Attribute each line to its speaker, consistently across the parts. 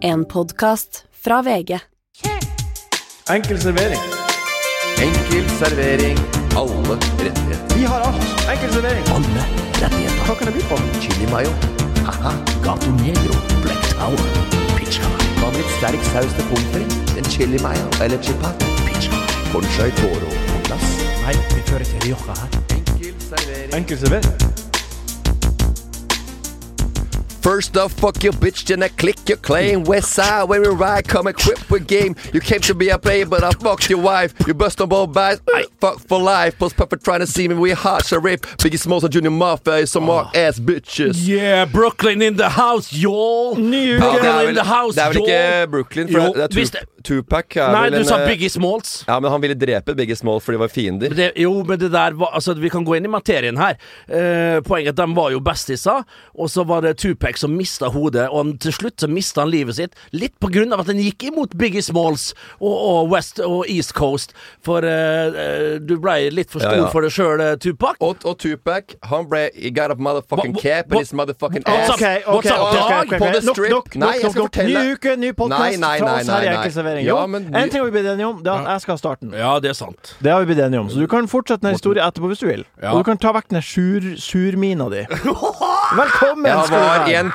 Speaker 1: En podkast fra VG.
Speaker 2: Enkel servering.
Speaker 3: Enkel servering. Alle rettigheter.
Speaker 2: Vi har alt. Enkel servering.
Speaker 3: Alle rettigheter.
Speaker 2: Hva kan det by på?
Speaker 3: Chili mayo. Haha. Gato negro. Black tower. Pizza. Hva med litt sterk saus til pommes frites? En chili mayo eller chipat? Pizza. Conchai toro på glass.
Speaker 4: Nei, vi fører til Rioja her.
Speaker 3: Enkel servering.
Speaker 2: Enkel servering.
Speaker 3: First off, fuck your bitch, then I click your claim. West side, when we ride, come equipped with game. You came to be a player, but I fucked your wife. You bust on both bites, I fuck for life. Post perfect trying to see me, we hot, Sharif. Biggie Smalls and Junior Mafia is some mark ass bitches.
Speaker 4: Yeah, Brooklyn in the house, y'all!
Speaker 2: Ny uke.
Speaker 4: Ja,
Speaker 3: det, er
Speaker 4: Brooklyn
Speaker 3: vel,
Speaker 4: in the house,
Speaker 3: det er vel
Speaker 4: y'all!
Speaker 3: ikke Brooklyn, for
Speaker 4: Jo,
Speaker 3: det, det er
Speaker 4: hvis
Speaker 3: Tup
Speaker 4: det-
Speaker 3: Tupac er
Speaker 4: Nei,
Speaker 3: vel
Speaker 4: du
Speaker 3: en,
Speaker 4: sa
Speaker 3: eh,
Speaker 4: Biggie Smalls.
Speaker 3: Ja, men han ville drepe Biggie Small fordi de var fiender.
Speaker 4: Det, jo, men det der var Altså, vi kan gå inn i materien her. Eh, poenget er at de var jo bestiser, og så var det Tupac som mista hodet, og han, til slutt så mista han livet sitt. Litt på grunn av at han gikk imot Biggie Smalls og, og West og East Coast, for eh, eh, du blei litt for
Speaker 3: Ja,
Speaker 4: stor
Speaker 3: ja.
Speaker 4: for deg sjøl, Tupac.
Speaker 3: Og, og Tupac, han ble He got a motherfucking
Speaker 4: Hva- hva-
Speaker 3: cap in his motherfucking ass.
Speaker 4: Ok, ok,
Speaker 3: What's up,
Speaker 4: ok,
Speaker 3: dog?
Speaker 4: ok, ok.
Speaker 3: På the
Speaker 5: Nok,
Speaker 3: strip.
Speaker 5: nok,
Speaker 3: nei,
Speaker 5: nok,
Speaker 3: jeg skal
Speaker 5: nok, nok.
Speaker 3: fortelle
Speaker 5: Ny uke, ny
Speaker 3: Nei,
Speaker 5: podkast
Speaker 3: nei,
Speaker 5: fra
Speaker 3: nei,
Speaker 5: oss her i
Speaker 3: nei, nei.
Speaker 5: Enkel servering.
Speaker 3: Ja,
Speaker 5: Jo,
Speaker 3: men vi-
Speaker 5: En ting har vi blitt enige om, det er at jeg skal ha starten.
Speaker 4: Ja, det er sant.
Speaker 5: Det har vi blitt enige om, så du kan fortsette den historien etterpå hvis du vil.
Speaker 4: Ja.
Speaker 5: Og du kan ta vekk den sur, surmina di. Velkommen
Speaker 3: Jeg
Speaker 5: skal
Speaker 3: var
Speaker 5: du
Speaker 3: i
Speaker 5: være.
Speaker 3: en,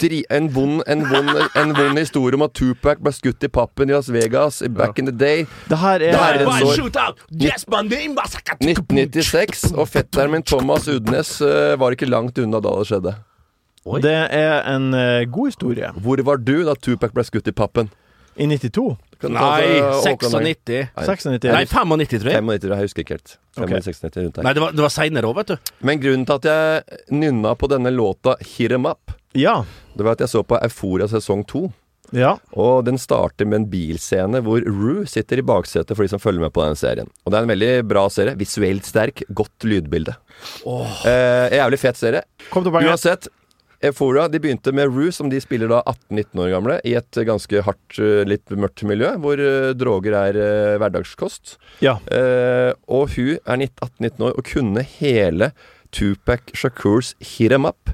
Speaker 3: dri, en, vond, en, vond, en vond historie om at Tupac ble skutt i pappen i Las Vegas back in the day.
Speaker 5: Det her
Speaker 3: Det her
Speaker 5: er
Speaker 3: er et sår.
Speaker 4: shootout! Yes, my name was
Speaker 3: 1996, og fetteren min Thomas Udnes eh, var ikke langt unna da det skjedde.
Speaker 4: Oi.
Speaker 5: Det er en eh, god historie.
Speaker 3: Hvor var du da Tupac ble skutt i pappen?
Speaker 5: I 92.
Speaker 3: Kan du ta
Speaker 4: Nei,
Speaker 3: fra Håkon Lang?
Speaker 4: 96.
Speaker 5: 96.
Speaker 4: Nei, 95, tror jeg.
Speaker 3: 95, jeg husker ikke helt. 95, 96, rundt
Speaker 4: Nei,
Speaker 3: her.
Speaker 4: det var, det var seinere òg, vet du.
Speaker 3: Men grunnen til at jeg nynna på denne låta 'Hit 'em Up',
Speaker 5: Ja.
Speaker 3: det var at jeg så på Euphoria sesong to.
Speaker 5: ja.
Speaker 3: Og den starter med en bilscene hvor Rue sitter i baksetet for de som følger med på den serien. Og det er en veldig bra serie. Visuelt sterk, godt lydbilde. Eh, jævlig fet serie.
Speaker 5: Kom til poenget.
Speaker 3: Uansett, Euphoria de begynte med Rue, som de spiller da 18-19 år gamle, i et ganske hardt, eh, litt mørkt miljø, hvor eh, droger er eh, hverdagskost.
Speaker 5: Ja.
Speaker 3: Eh, og hun er 19 18-19 år og kunne hele Tupac Shakurs Hit 'em up.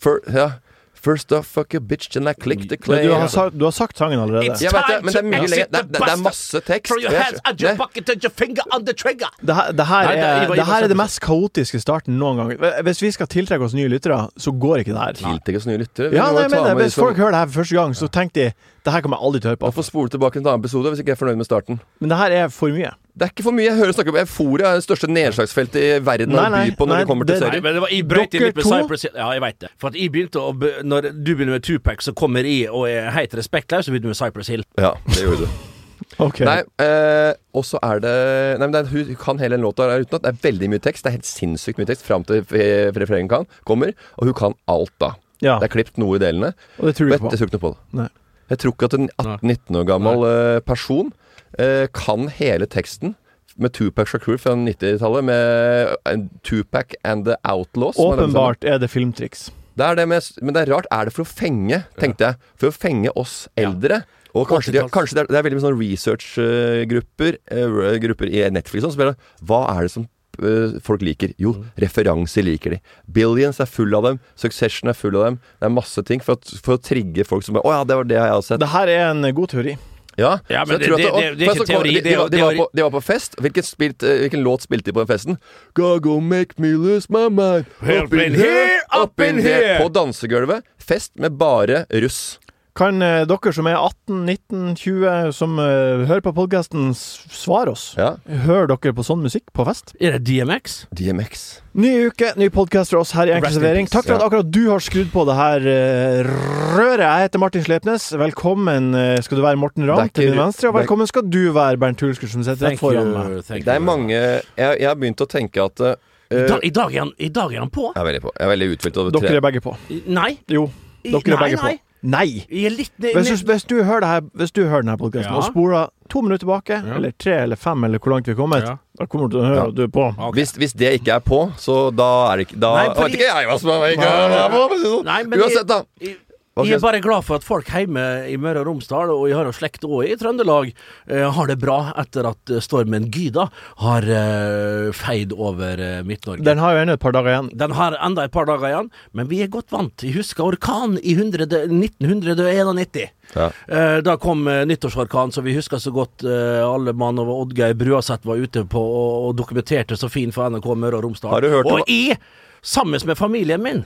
Speaker 3: For, ja. First off, fuck a bitch, then I click the
Speaker 5: Men
Speaker 3: clay.
Speaker 5: Du har, sa- du har sagt sangen allerede.
Speaker 4: It's-
Speaker 3: Jeg vet det, men det er
Speaker 4: Time
Speaker 3: mye
Speaker 4: to
Speaker 3: lenger.
Speaker 4: exit
Speaker 3: Det,
Speaker 4: the
Speaker 3: det, det er
Speaker 4: busters
Speaker 3: masse tekst.
Speaker 4: Throw your
Speaker 3: Jeg-
Speaker 4: hands at your
Speaker 3: det-
Speaker 4: bucket and your finger on the trigger!
Speaker 5: Det her, det her,
Speaker 4: Nei, det-
Speaker 5: er,
Speaker 4: Ivar-
Speaker 5: det her
Speaker 4: Ivar-
Speaker 5: er det mest kaotiske starten noen gang. Hvis vi skal tiltrekke oss nye lyttere, så går ikke det her.
Speaker 3: Tiltrekke oss nye lyttere. Vi
Speaker 5: Ja,
Speaker 3: må
Speaker 5: nei,
Speaker 3: jo
Speaker 5: jeg
Speaker 3: ta
Speaker 5: mener,
Speaker 3: med de
Speaker 5: Hvis
Speaker 3: som-
Speaker 5: folk hører det her for første gang, så tenker de det her kommer jeg aldri til å høre
Speaker 3: Man
Speaker 5: på.
Speaker 3: får spole tilbake til en annen episode hvis ikke jeg er fornøyd med starten.
Speaker 5: Men det her er for mye.
Speaker 3: Det er ikke for mye jeg hører snakke om Euforia, er det største nedslagsfeltet i verden å
Speaker 5: Nei, nei,
Speaker 3: by på når
Speaker 5: nei,
Speaker 3: det kommer til
Speaker 5: det-
Speaker 4: Nei,
Speaker 3: serier.
Speaker 4: men det var jeg brøyt inn
Speaker 5: Dere
Speaker 4: litt med
Speaker 5: to?
Speaker 4: Cypress Hill. Ja, jeg vet det. For at jeg begynte å be, Når du begynner med Tupac, så kommer jeg og er helt respektløs, så begynner du med Cypress Hill.
Speaker 3: Ja, det gjorde du.
Speaker 5: Ok.
Speaker 3: Nei, eh, og så er det Nei, men det er, Hun kan hele den låta her utenat. Det er veldig mye tekst. Det er helt sinnssykt mye tekst fram til eh, refrengen kan- kommer. Og hun kan alt, da.
Speaker 5: Ja,
Speaker 3: Det er klippet noe i delene.
Speaker 5: og det tror du ikke
Speaker 3: Vet, jeg
Speaker 5: på.
Speaker 3: tror ikke noe på det.
Speaker 5: Nei.
Speaker 3: Jeg tror ikke at en 18-19 år gammel eh, person eh, kan hele teksten med Tupac Shakur fra 90-tallet, med eh, Tupac and the Outlaws. som er den sangen.
Speaker 5: Åpenbart er det filmtriks.
Speaker 3: Det er det med, men det er rart. Er det for å fenge, tenkte jeg. For å fenge oss eldre. Og kanskje, de,
Speaker 4: 80-talls.
Speaker 3: kanskje det, er, det er veldig mye sånn researchgrupper eh, Grupper i Netflix og sånn, som spiller Hva er det som eh, folk liker? Jo, referanser liker de. Billions er full av dem. Succession er full av dem. Det er masse ting for, at, for å trigge folk som bare Å ja, det var det jeg har sett.
Speaker 5: Det her er en god teori.
Speaker 3: Ja,
Speaker 4: Ja,
Speaker 3: så
Speaker 4: men
Speaker 3: jeg tror
Speaker 4: det-
Speaker 3: at-
Speaker 4: det- det- det er
Speaker 3: og- så
Speaker 4: ikke
Speaker 3: kom-
Speaker 4: teori,
Speaker 3: de-
Speaker 4: det er
Speaker 3: de var- De var
Speaker 4: teori.
Speaker 3: på- de var på fest. Hvilken, spilt, eh, hvilken låt spilte de på den festen? Go, go, make me lose my mind.
Speaker 4: Up in here, up in here.
Speaker 3: På dansegulvet. Fest med bare russ.
Speaker 5: Kan eh, dere som er 18, 19, 20, som eh, hører på podkasten, svare oss?
Speaker 3: Ja.
Speaker 5: Hører dere på sånn musikk på fest?
Speaker 4: Er det DMX?
Speaker 3: DMX.
Speaker 5: Ny uke, ny podkast fra oss her i Enkel
Speaker 4: Rest in
Speaker 5: servering.
Speaker 4: peace.
Speaker 5: Takk for at akkurat du har skrudd på det her eh, røret. Jeg heter Martin Slepnes. Velkommen eh, skal du være, Morten Ramm,
Speaker 3: Det er
Speaker 5: til
Speaker 3: ikke-
Speaker 5: min venstre. Og
Speaker 3: det er-
Speaker 5: velkommen skal du være, Bernt Hulsker, som sitter rett foran meg.
Speaker 3: Det er mange Jeg, jeg har begynt å tenke at eh,
Speaker 4: Da, i, dag er han, I dag er han på.
Speaker 3: Jeg er veldig på. Jeg er veldig uthvilt over
Speaker 5: eh, Dere
Speaker 3: tre.
Speaker 5: er begge på.
Speaker 4: Nei.
Speaker 5: Jo,
Speaker 4: I-
Speaker 5: dere er
Speaker 4: nei,
Speaker 5: begge på.
Speaker 4: nei.
Speaker 5: Nei!
Speaker 4: Jeg er litt
Speaker 5: Hvis du, hvis du hører det her Hvis du hører denne podkasten
Speaker 4: Ja.
Speaker 5: og spoler to minutter tilbake,
Speaker 4: Ja.
Speaker 5: eller tre eller fem, eller hvor langt vi er kommet,
Speaker 4: Ja.
Speaker 5: da kommer du til å høre
Speaker 3: Ja.
Speaker 5: at du er på.
Speaker 4: Ok.
Speaker 3: Hvis, hvis det ikke er på, så da er det ikke Da
Speaker 4: Nei, fordi-
Speaker 3: vet ikke jeg hva som er ikke er på. for å si det sånn.
Speaker 4: Nei, men-
Speaker 3: Uansett, da.
Speaker 4: I-
Speaker 3: Hva
Speaker 4: Jeg er
Speaker 3: slags-
Speaker 4: bare glad for at folk hjemme i Møre og Romsdal, og jeg har jo slekt òg i Trøndelag, eh, har det bra etter at eh, stormen Gyda har eh, feid over eh, Midt-Norge.
Speaker 5: Den har jo ennå et par dager igjen.
Speaker 4: Den har enda et par dager igjen, men vi er godt vant. Jeg husker orkanen i 100, 1991.
Speaker 3: Ja.
Speaker 4: Eh, Da kom eh, nyttårsorkanen, som vi husker så godt. eh, Alle mann over Oddgeir Bruaseth var ute på og og dokumenterte så fint for NRK Møre og Romsdal.
Speaker 3: Har du hørt om-
Speaker 4: og jeg, sammen med familien min,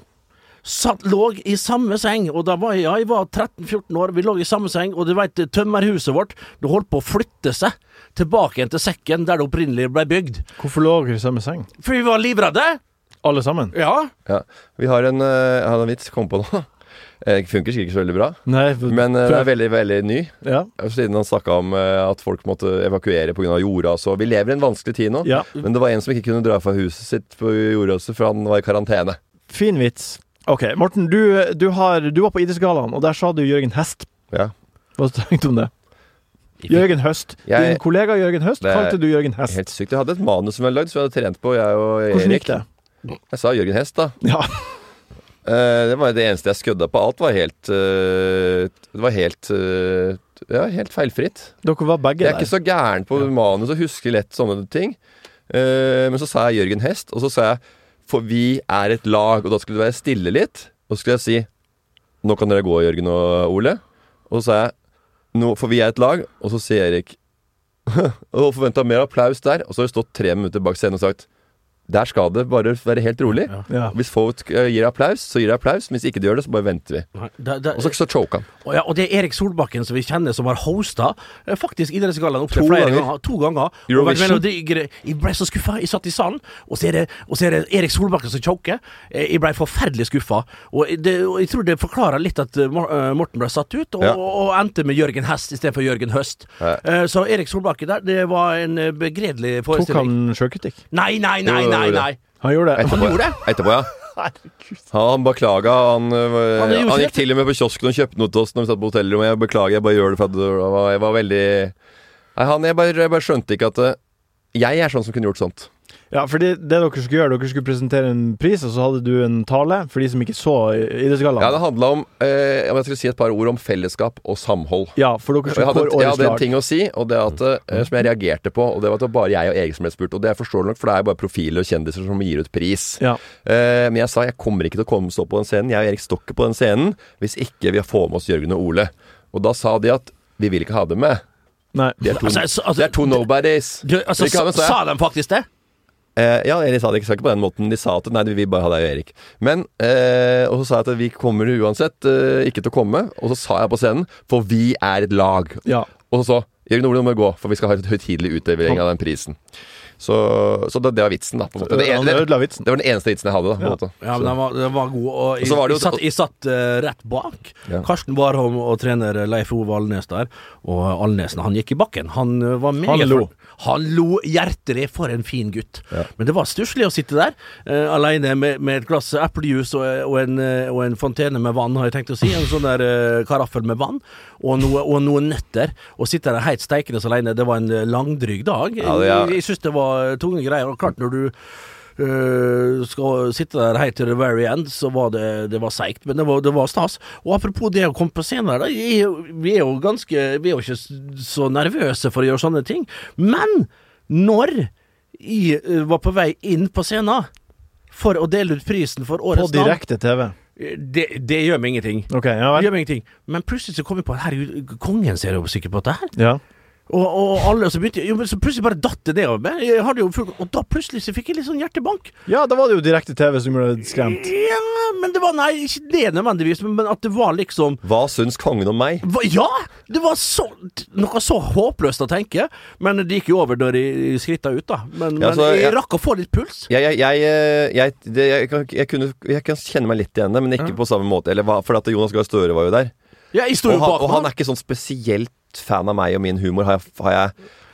Speaker 4: satt, lå i samme seng, og da var jeg, ja, jeg var 13-14 år, vi lå i samme seng, og du veit, tømmerhuset vårt, det holdt på å flytte seg tilbake igjen til sekken der det opprinnelig ble bygd.
Speaker 5: Hvorfor lå dere i samme seng?
Speaker 4: For vi var livredde!
Speaker 5: Alle sammen?
Speaker 4: Ja.
Speaker 3: Ja. Vi har en, eh, jeg hadde en vits, kom på nå. Eh, Funker sikkert ikke så veldig bra,
Speaker 5: Nei,
Speaker 3: men eh, den er veldig, veldig ny.
Speaker 5: ja.
Speaker 3: Siden han snakka om eh, at folk måtte evakuere pga. jordras. og Vi lever i en vanskelig tid nå,
Speaker 5: Ja.
Speaker 3: men det var en som ikke kunne dra fra huset sitt på jordraset, for han var i karantene.
Speaker 5: Fin vits. OK, Morten, du, du, har, du var på idrettsgallaen, og der sa du Jørgen Hest.
Speaker 3: Ja.
Speaker 5: Hva tenkte du om det? Jørgen Høst.
Speaker 3: Jeg-
Speaker 5: Din kollega Jørgen Høst
Speaker 3: Det er-
Speaker 5: kalte du Jørgen Hest.
Speaker 3: Helt sykt. Jeg hadde et manus som jeg hadde lagd, som jeg hadde trent på, jeg og
Speaker 5: Hvordan
Speaker 3: Erik.
Speaker 5: gikk det?
Speaker 3: Jeg sa Jørgen Hest, da.
Speaker 5: Ja.
Speaker 3: Eh, det var jo det eneste jeg skødda på. Alt var helt eh, Det var helt eh, Ja, helt feilfritt.
Speaker 5: Dere var begge
Speaker 3: Jeg er
Speaker 5: der.
Speaker 3: ikke så gæren på manus og husker lett sånne ting. Eh, men så sa jeg Jørgen Hest, og så sa jeg For vi er et lag. Og da skulle det være stille litt. Og så skulle jeg si Nå kan dere gå, Jørgen og Ole. Og så sa jeg nå, For vi er et lag. Og så sier Erik Og forventa mer applaus der. Og så har vi stått tre minutter bak scenen og sagt Der skal det bare være helt rolig.
Speaker 5: Ja.
Speaker 3: Hvis folk eh, gir applaus, så gir de applaus. Hvis ikke de gjør det, så bare venter vi.
Speaker 4: Nei, da- da-
Speaker 3: Og så, så choker han.
Speaker 4: Og, ja, og det er Erik Solbakken som vi kjenner som har hosta eh, faktisk Idrettsgallaen opptil
Speaker 3: To
Speaker 4: flere
Speaker 3: ganger.
Speaker 4: ganger. To ganger. Og vært
Speaker 3: Eurovision.
Speaker 4: melodier- Jeg ble så skuffa. Jeg satt i salen, og så er det, og så er det Erik Solbakken som choker. Eh, Jeg ble forferdelig skuffa. Og, det- og jeg tror det forklarer litt at eh, Mor- eh, Morten ble satt ut, og,
Speaker 3: Ja.
Speaker 4: og endte med Jørgen Hest istedenfor Jørgen Høst.
Speaker 3: Ja.
Speaker 4: Eh, Så Erik Solbakken der, det var en eh, begredelig
Speaker 5: Tok han
Speaker 4: forestilling.
Speaker 5: sjøkritikk?
Speaker 4: Nei, nei, nei,
Speaker 3: Jo, jo,
Speaker 4: nei!
Speaker 3: jo.
Speaker 4: nei.
Speaker 5: Han gjorde det.
Speaker 3: Etterpå, ja. Etterpå, ja.
Speaker 5: Herregud.
Speaker 3: Ja, han beklaga. Han, øh,
Speaker 4: Han gjorde
Speaker 3: han,
Speaker 4: ikke
Speaker 3: gikk
Speaker 4: dette.
Speaker 3: til og med på kiosken og kjøpte noe til oss når vi satt på hotellrommet. Jeg beklager, jeg bare gjør det for at det var, jeg var veldig Nei, han, jeg bare, jeg bare skjønte ikke at øh, Jeg er sånn som kunne gjort sånt.
Speaker 5: Ja, fordi det dere skulle gjøre, dere skulle presentere en pris, og så hadde du en tale for de som ikke så
Speaker 3: Ja, Det
Speaker 5: Idrettsgallaen.
Speaker 3: handla om øh, om Jeg skulle si et par ord om fellesskap og samhold.
Speaker 5: Ja, for dere
Speaker 3: Og Jeg
Speaker 5: skulle
Speaker 3: hadde,
Speaker 5: kåre
Speaker 3: jeg
Speaker 5: årets
Speaker 3: hadde en
Speaker 5: lag. Mm.
Speaker 3: ting å si og det at, øh, som jeg reagerte på, og det var at det var bare jeg og Erik som ble spurt. Og det er forståelig nok, for det er jo bare profiler og kjendiser som gir ut pris.
Speaker 5: Ja.
Speaker 3: Eh, men jeg sa jeg kommer ikke til å komme stå på den scenen. Jeg og Erik Stokke på den scenen hvis ikke vi får med oss Jørgen og Ole. Og da sa de at vi vil ikke ha dem med.
Speaker 5: Nei.
Speaker 3: De er to,
Speaker 4: Altså, altså, altså-
Speaker 3: det er to nobodies.
Speaker 4: Du, altså,
Speaker 3: Ikke ha med, sa jeg.
Speaker 4: sa de faktisk det?
Speaker 3: Eh, ja, eller de sa det ikke, sa ikke på den måten. De sa at nei, vi vil bare ha deg og Erik. Men, eh, Og så sa jeg at vi kommer uansett eh, ikke til å komme. Og så sa jeg på scenen for vi er et lag.
Speaker 5: Ja.
Speaker 3: Og så Jørgen Ole, nå må vi gå, for vi skal ha en høytidelig utdeling av den prisen. Så, så det, det var vitsen, da. På en måte. Det,
Speaker 5: Han
Speaker 3: ene- det,
Speaker 5: ødela vitsen.
Speaker 3: det var den eneste vitsen jeg hadde. da, på en
Speaker 5: Ja.
Speaker 3: måte.
Speaker 4: Ja,
Speaker 3: Så-
Speaker 4: men den var, den var god. Og jeg,
Speaker 3: så var det jo-
Speaker 4: jeg satt, jeg satt eh, rett bak.
Speaker 3: Ja.
Speaker 4: Karsten Warholm og trener Leif Ove Alnes der. Og Alnesen, han gikk i bakken. Han eh, var meget
Speaker 5: Han lo.
Speaker 4: Han lo hjertelig. For en fin gutt.
Speaker 3: Ja.
Speaker 4: Men det var stusslig å sitte der eh, alene med, med et glass eplejuice og, og, en, eh, og en fontene med vann, har jeg tenkt å si. En sånn der eh, karaffel med vann. Og, noe, og noen nøtter. Og sitte der helt steikende alene. Det var en eh, langdryg dag.
Speaker 3: Ja, det er-
Speaker 4: Jeg- Jeg syns det var tunge greier. Og klart, når du eh, skal sitte der helt til the very end, så var det, det var seigt, men det var, det var stas. Og apropos det å komme på scenen her, da. jeg er jo- Vi er jo ganske Vi er jo ikke s- så nervøse for å gjøre sånne ting. Men når jeg eh, var på vei inn på scenen for å dele ut prisen for
Speaker 5: På
Speaker 4: årets navn,
Speaker 5: direkte TV.
Speaker 4: eh, det, det gjør meg ingenting.
Speaker 5: OK, ja
Speaker 4: Det
Speaker 5: vel.
Speaker 4: gjør meg ingenting. Men plutselig så kom jeg på at herregud, kongen ser jo sikkert på dette her.
Speaker 5: Ja.
Speaker 4: Og, og alle som begynte jo, men Så plutselig bare datt det nedover meg. Jeg hadde jo full, og da plutselig så fikk jeg litt sånn hjertebank.
Speaker 5: ja, da var det jo direkte TV som gjorde deg skremt.
Speaker 4: Ja, men det var Nei, ikke det nødvendigvis, men men at det var liksom
Speaker 3: Hva syns kongen om meg?
Speaker 4: hva, ja! Det var så, noe så håpløst å tenke. Men det gikk jo over når jeg skritta ut, da. Men,
Speaker 3: Ja, så
Speaker 4: men jeg
Speaker 3: jeg-
Speaker 4: rakk å få litt puls.
Speaker 3: Jeg, jeg, jeg, eh, jeg, det, jeg, kan- jeg, kunne, jeg kan kjenne meg litt igjen, det, men ikke på samme måte. Eller, hva- for at Jonas Gahr Støre var jo der.
Speaker 4: Ja, jeg sto
Speaker 3: Og
Speaker 4: jo
Speaker 3: han,
Speaker 4: bak
Speaker 3: og han
Speaker 4: meg.
Speaker 3: er ikke sånn spesielt fan av meg og min humor, har jeg, har jeg,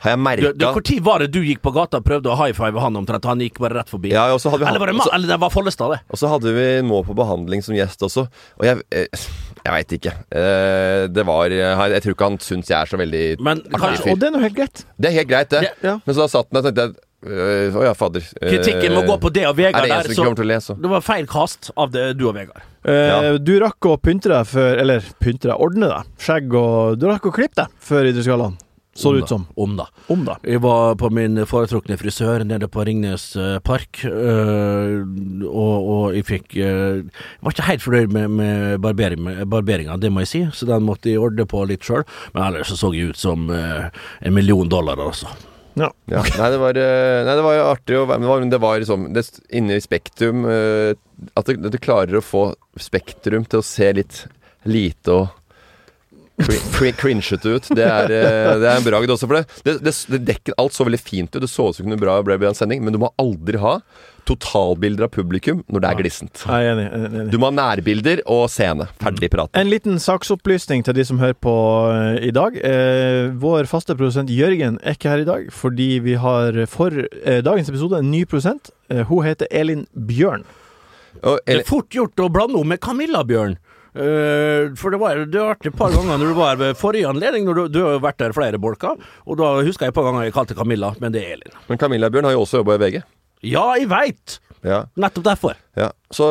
Speaker 3: har jeg
Speaker 4: Du- du, Hvor
Speaker 3: merka.
Speaker 4: tid var det du gikk på gata og prøvde å high five han omtrent? Han gikk bare rett forbi.
Speaker 3: Ja, og så hadde vi han-
Speaker 4: eller, var det, ma-
Speaker 3: også-
Speaker 4: eller det var Follestad, det.
Speaker 3: og så hadde vi Må på behandling som gjest også. Og jeg, eh, jeg veit ikke. Eh, Det var Jeg jeg tror ikke han syns jeg er så veldig
Speaker 4: Men
Speaker 3: artig
Speaker 4: kanskje-
Speaker 3: fyr.
Speaker 5: Og det er nå helt greit.
Speaker 3: Det er helt greit, det.
Speaker 4: Det-
Speaker 5: Ja.
Speaker 3: Men så da satt den og tenkte jeg Øh, Å ja, fadder. Eh,
Speaker 4: Kritikken må gå på det og Vegard
Speaker 3: Er det en
Speaker 4: der,
Speaker 3: som ikke
Speaker 4: så
Speaker 3: kommer til å lese?
Speaker 4: det var feil kast av det, du og Vegard.
Speaker 5: Eh, Du rakk å pynte deg før Eller pynte deg, ordne deg. Skjegg og Du rakk å klippe deg før Idrettsgallaen, så det ut som.
Speaker 4: Om da.
Speaker 5: Om, da.
Speaker 4: Jeg var på min foretrukne frisør nede på Ringnes eh, Park, øh, og, og jeg fikk øh, Jeg var ikke helt fornøyd med, med barbering, med barberinga, det må jeg si, så den måtte jeg ordne på litt sjøl. Men ellers så så jeg ut som øh, en million dollar, altså.
Speaker 5: Ja.
Speaker 3: Ja. Nei, det var, eh, nei, det var jo artig å være med, det var- men det var liksom det, s- Inne i Spektrum eh, At du, at du klarer å få Spektrum til å se litt lite og cri- cri- cringete ut. Det er, eh, det er en bragd også for det. Det, det. det dekker alt så veldig fint ut. Det så ut som det bra ble en sending, men du må aldri ha totalbilder av publikum når det er glissent.
Speaker 5: Jeg er enig. jeg er enig.
Speaker 3: Du må ha nærbilder og scene. Ferdig prat.
Speaker 5: En liten saksopplysning til de som hører på eh, i dag. Eh, vår faste produsent Jørgen er ikke her i dag fordi vi har for eh, dagens episode en ny produsent. Eh, hun heter Elin Bjørn.
Speaker 3: Og,
Speaker 4: Det
Speaker 3: eller,
Speaker 4: er fort gjort å blande om med Camilla, Bjørn. Eh, for det var jo- det har vært et par ganger når du var her ved forrige anledning, når du, du har jo vært der flere bolker, og da husker jeg et par ganger jeg kalte Camilla, men det er Elin.
Speaker 3: men Camilla Bjørn har jo også jobba i VG.
Speaker 4: Ja, jeg veit!
Speaker 3: Ja
Speaker 4: Nettopp derfor.
Speaker 3: Ja, så,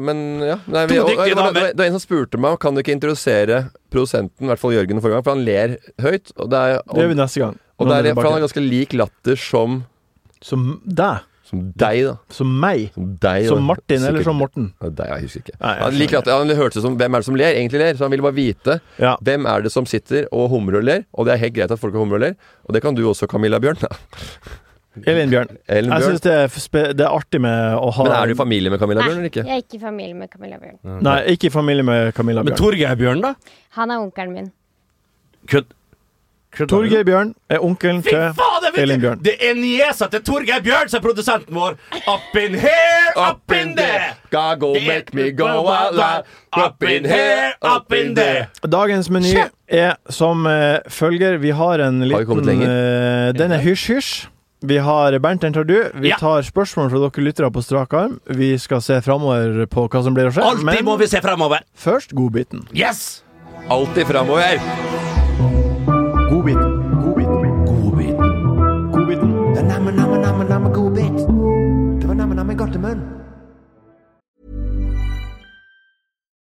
Speaker 3: men ja Nei, vi,
Speaker 4: To
Speaker 3: og, og,
Speaker 4: dyktige
Speaker 3: det, var-
Speaker 4: damer.
Speaker 3: det var en som spurte meg Kan du ikke introdusere produsenten, i hvert fall Jørgen, forrige gang, for han ler høyt. Og det er,
Speaker 5: Det gjør vi
Speaker 3: og,
Speaker 5: neste gang.
Speaker 3: og
Speaker 5: Nå
Speaker 3: det
Speaker 5: er
Speaker 3: er,
Speaker 5: vi
Speaker 3: for han har
Speaker 5: tilbake.
Speaker 3: ganske lik latter som,
Speaker 5: Som deg.
Speaker 3: som deg, da.
Speaker 5: Som meg.
Speaker 3: Som, deg,
Speaker 5: Som
Speaker 3: da.
Speaker 5: Martin
Speaker 3: Sikkert.
Speaker 5: eller som Morten.
Speaker 3: Ja, Deg, jeg husker ikke.
Speaker 5: Nei, jeg
Speaker 3: han, lik
Speaker 5: skjønner.
Speaker 3: latter, han hørte som Hvem er det som ler? Egentlig ler. Så han ville bare vite
Speaker 5: Ja.
Speaker 3: hvem er det som sitter og humrer og ler. Og det er helt greit at folk humrer og ler. Og det kan du også, Camilla Bjørn.
Speaker 5: Elin Bjørn.
Speaker 3: Ellen
Speaker 5: Jeg
Speaker 3: Bjørn.
Speaker 5: syns det, er f- spe- det er artig med å ha
Speaker 3: Men er du i familie med Camilla Bjørn, eller ikke?
Speaker 6: Jeg er ikke i familie med Camilla Bjørn.
Speaker 5: Nei, ikke i familie med Camilla
Speaker 4: Men
Speaker 5: Bjørn.
Speaker 4: Torgeir Bjørn, da?
Speaker 6: Han er onkelen min.
Speaker 4: Kødd. Kødder du?
Speaker 5: Torgeir Bjørn er onkelen
Speaker 4: Fy
Speaker 5: til
Speaker 4: fader, vet
Speaker 5: Elin
Speaker 4: du!
Speaker 5: Bjørn.
Speaker 4: Det er niesa til Torgeir Bjørn som er produsenten vår! Up in here, up in there! Oh,
Speaker 3: Gago make me go out loud. Up in here, up in there.
Speaker 5: Dagens meny er som eh, følger. Vi har en
Speaker 3: Har vi kommet
Speaker 5: liten eh, Den er hysj-hysj. Vi har Bernt, den tar du. Vi
Speaker 4: Ja.
Speaker 5: tar spørsmål fra dere lyttere på strak arm. Vi skal se framover på hva som blir å skje.
Speaker 4: Alltid må vi se fremover.
Speaker 5: først godbiten.
Speaker 4: Yes!
Speaker 3: Alltid framover.
Speaker 5: Godbiten. Godbiten. Godbiten.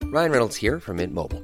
Speaker 7: Ryan Reynolds here from Mint Mobile.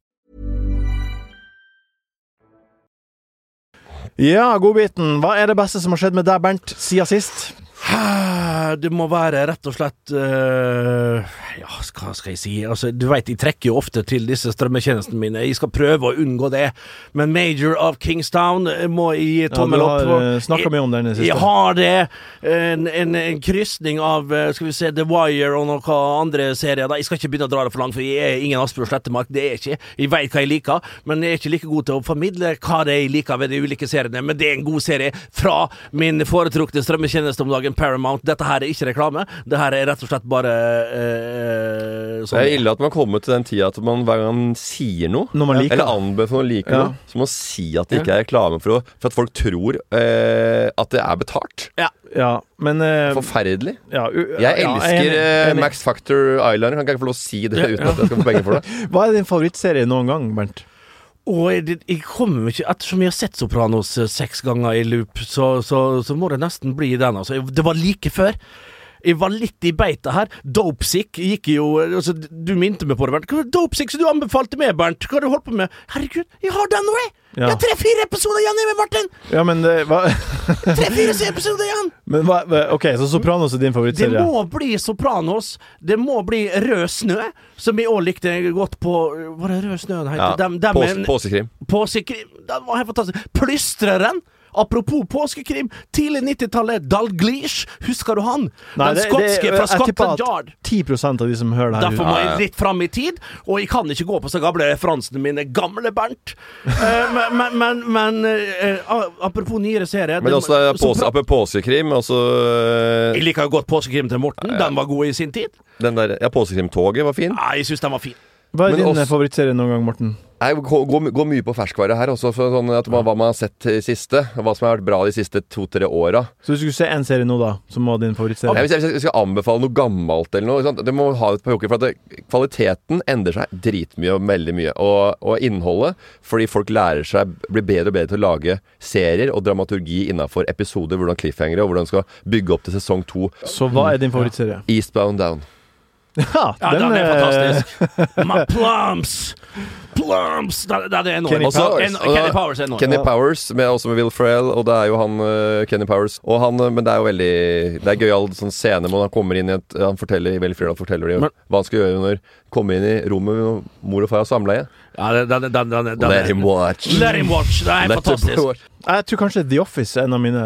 Speaker 5: Ja, godbiten. Hva er det beste som har skjedd med deg, Bernt, siden sist?
Speaker 4: Det må være rett og slett eh, Ja, hva skal jeg si? Altså, du veit, jeg trekker jo ofte til disse strømmetjenestene mine. Jeg skal prøve å unngå det, men Major of Kingstown eh, må jeg gi
Speaker 5: Ja, du
Speaker 4: tommel opp.
Speaker 5: har
Speaker 4: for.
Speaker 5: snakka mye om den i det
Speaker 4: Jeg
Speaker 5: siste.
Speaker 4: har det. eh, En, en, en krysning av eh, skal vi se, The Wire og noen andre serier. Da. Jeg skal ikke begynne å dra det for langt, for jeg er ingen Asbjørn Slettemark. Det er jeg ikke. Jeg veit hva jeg liker, men jeg er ikke like god til å formidle hva det er jeg liker ved de ulike seriene. Men det er en god serie fra min foretrukne strømmetjeneste om dagen, Paramount. Dette her er ikke reklame. Det her er rett og slett bare eh,
Speaker 3: Det
Speaker 4: sånn.
Speaker 3: er ille at man kommer til den tida at man hver gang man sier noe,
Speaker 5: Når man liker
Speaker 3: eller
Speaker 5: det.
Speaker 3: anbefaler noe, liker
Speaker 5: Ja.
Speaker 3: noe, så må man si at det ikke er reklame for, å, for at folk tror eh, at det er betalt.
Speaker 5: Ja, men eh,
Speaker 3: Forferdelig.
Speaker 5: ja, u- ja,
Speaker 3: Jeg
Speaker 5: er
Speaker 3: elsker
Speaker 5: enig,
Speaker 3: eh,
Speaker 5: enig.
Speaker 3: Max Factor Eyeliner. Kan ikke jeg få lov å si det uten at jeg skal få penger for det?
Speaker 5: Hva er din favorittserie noen gang, Bernt?
Speaker 4: Og jeg, jeg kommer ikke Ettersom jeg har sett Sopranos eh, seks ganger i loop, så, så, så må det nesten bli den. Altså. Jeg- Det var like før. Jeg var litt i beita her. Dopesick gikk jo altså, Du minte meg på det, Bernt. Hva var det Dopesick som du anbefalte meg, Bernt. Hva har du holdt på med? Herregud, jeg har den nå, jeg!
Speaker 5: Ja.
Speaker 4: Jeg har tre-fire episoder igjen, Emil Martin!
Speaker 5: Ja, men det hva,
Speaker 4: Tre-fire episoder igjen!
Speaker 5: men hva hva- OK, så Sopranos er din
Speaker 4: Det
Speaker 5: favorittserie?
Speaker 4: må bli Sopranos. Det må bli Rød snø, som jeg òg likte godt på Var det Rød snø den het?
Speaker 3: Ja.
Speaker 4: Dem- dem
Speaker 3: Pås-
Speaker 4: er en-
Speaker 3: Påskekrim.
Speaker 4: Påskekrim Den var helt fantastisk. Plystreren! Apropos påskekrim, tidlig 90-tallet, Dalglish, husker du han?
Speaker 5: Nei,
Speaker 4: den
Speaker 5: det- eh, det-
Speaker 4: skotske
Speaker 5: jeg
Speaker 4: fra
Speaker 5: tipper at
Speaker 4: Scotland Yard.
Speaker 5: 10 av de som hører det her
Speaker 4: Derfor må jeg litt fram i tid, og jeg kan ikke gå på så gamle referansene mine. Gamle Bernt! Eh, men men, men, men eh, eh, apropos nyere serier
Speaker 3: Men
Speaker 4: det-
Speaker 3: også eh,
Speaker 4: så
Speaker 3: pås-
Speaker 4: bra-
Speaker 3: apropos påskekrim, altså
Speaker 4: Jeg liker jo godt påskekrim til Morten. Den var god i sin tid.
Speaker 3: den der Ja, påskekrimtoget var fin.
Speaker 4: Nei, jeg syns den var fin.
Speaker 5: Hva er
Speaker 3: Men
Speaker 5: din
Speaker 3: også-
Speaker 5: eh, favorittserie noen gang, Morten?
Speaker 3: Jeg går, går, går mye på ferskvare her også, for sånn at man, hva man har sett i siste. og Hva som har vært bra de siste to-tre åra.
Speaker 5: Så hvis du skulle se en serie nå, da, som var din favorittserie?
Speaker 3: Hvis, jeg- hvis jeg skal anbefale noe gammelt eller noe, sant? det må ha et par uker. For at det, kvaliteten endrer seg dritmye og veldig mye. Og, og innholdet, fordi folk lærer seg, blir bedre og bedre til å lage serier og dramaturgi innafor episoder, hvordan cliffhangere, og hvordan de skal bygge opp til sesong to.
Speaker 5: Så hva er din favorittserie?
Speaker 3: Eastbound Down.
Speaker 5: Ja,
Speaker 4: Ja, den, er
Speaker 5: eh,
Speaker 4: fantastisk. My plums! Plums! Den, den er enorm.
Speaker 5: Kenny
Speaker 4: Også-
Speaker 5: Powers.
Speaker 4: en- Kenny Powers er enorm.
Speaker 3: Kenny
Speaker 5: Ja.
Speaker 3: Powers, med, også med Will Ferrell, og det er jo han eh, Kenny Powers. Og han, eh, men det er jo veldig Det er gøyal sånn scene hvor han kommer inn i et Han forteller Will Ferrell forteller jo
Speaker 4: Men-
Speaker 3: hva han skal gjøre når han kommer inn i rommet hvor mor og far har samleie.
Speaker 4: Ja, den, den, den, den, den,
Speaker 3: Let him watch.
Speaker 4: Let him watch. Den er
Speaker 3: Let him
Speaker 4: fantastisk.
Speaker 3: watch.
Speaker 5: Jeg tror kanskje The Office er en av mine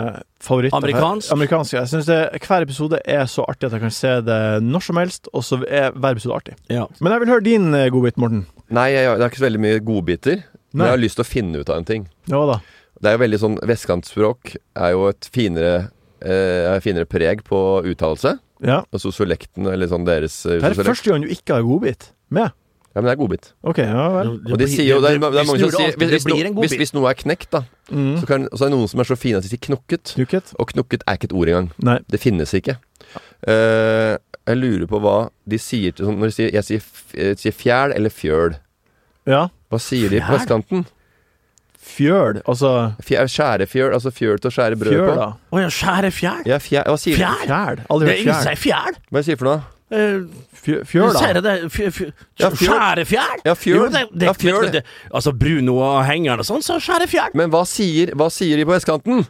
Speaker 5: favoritter. Eh,
Speaker 4: Amerikansk?
Speaker 5: Amerikansk, ja. Jeg synes det, Hver episode er så artig at jeg kan se det når som helst, og så er hver episode artig.
Speaker 4: Ja.
Speaker 5: Men jeg vil høre din eh, godbit, Morten.
Speaker 3: Nei, jeg, det er ikke så veldig mye godbiter.
Speaker 5: Nei.
Speaker 3: Men jeg har lyst til å finne ut av en ting.
Speaker 5: Ja da.
Speaker 3: Det er jo veldig sånn Vestkantspråk er jo et finere eh, finere preg på uttalelse.
Speaker 5: Ja.
Speaker 3: Og sosiolekten, eller sånn deres eh,
Speaker 5: Det her er
Speaker 3: sosiolekt.
Speaker 5: første gang du ikke har godbit med.
Speaker 3: Ja, men det er godbit.
Speaker 5: OK, ja vel.
Speaker 3: Og de sier jo det, er- det er mange som sier hvis,
Speaker 4: Det
Speaker 3: hvis, no-
Speaker 4: blir en
Speaker 3: hvis,
Speaker 4: godbit.
Speaker 3: hvis noe er knekt, da,
Speaker 5: Mm.
Speaker 3: så, kan, så er det noen som er så fine at de sier knokket.
Speaker 5: Dukket?
Speaker 3: Og knokket er ikke et ord engang.
Speaker 5: Nei.
Speaker 3: Det finnes ikke. Eh, jeg lurer på hva de sier til sånn, Når de sier, jeg sier, f- eh, sier fjæl eller fjøl.
Speaker 5: Ja.
Speaker 3: Hva sier de på
Speaker 4: Fjæl?
Speaker 3: vestkanten?
Speaker 5: Fjøl, altså
Speaker 3: Fjæ- Skjærefjøl, altså fjøl til å skjære brød
Speaker 5: Fjøl,
Speaker 3: på.
Speaker 5: da.
Speaker 4: Å ja, skjære fjær?
Speaker 3: Ja, fjæl, hva sier
Speaker 4: Fjær?
Speaker 5: Fjæl? Aldri
Speaker 4: Det er
Speaker 5: hørt
Speaker 4: ingen som
Speaker 5: fjæl.
Speaker 4: sier fjær.
Speaker 3: Hva sier de for noe?
Speaker 4: Eh,
Speaker 5: Fjø- Fjøl, da.
Speaker 4: Sier jeg det? Fjø- fjø-
Speaker 3: Ja, fjøl.
Speaker 4: Skjære fjær?
Speaker 3: Ja, fjøl.
Speaker 4: Jo, det- det-
Speaker 3: Ja, fjøl.
Speaker 4: det- det- Altså, Bruno og hengeren og sånn, så skjære fjær.
Speaker 3: Men hva sier, hva sier de på vestkanten?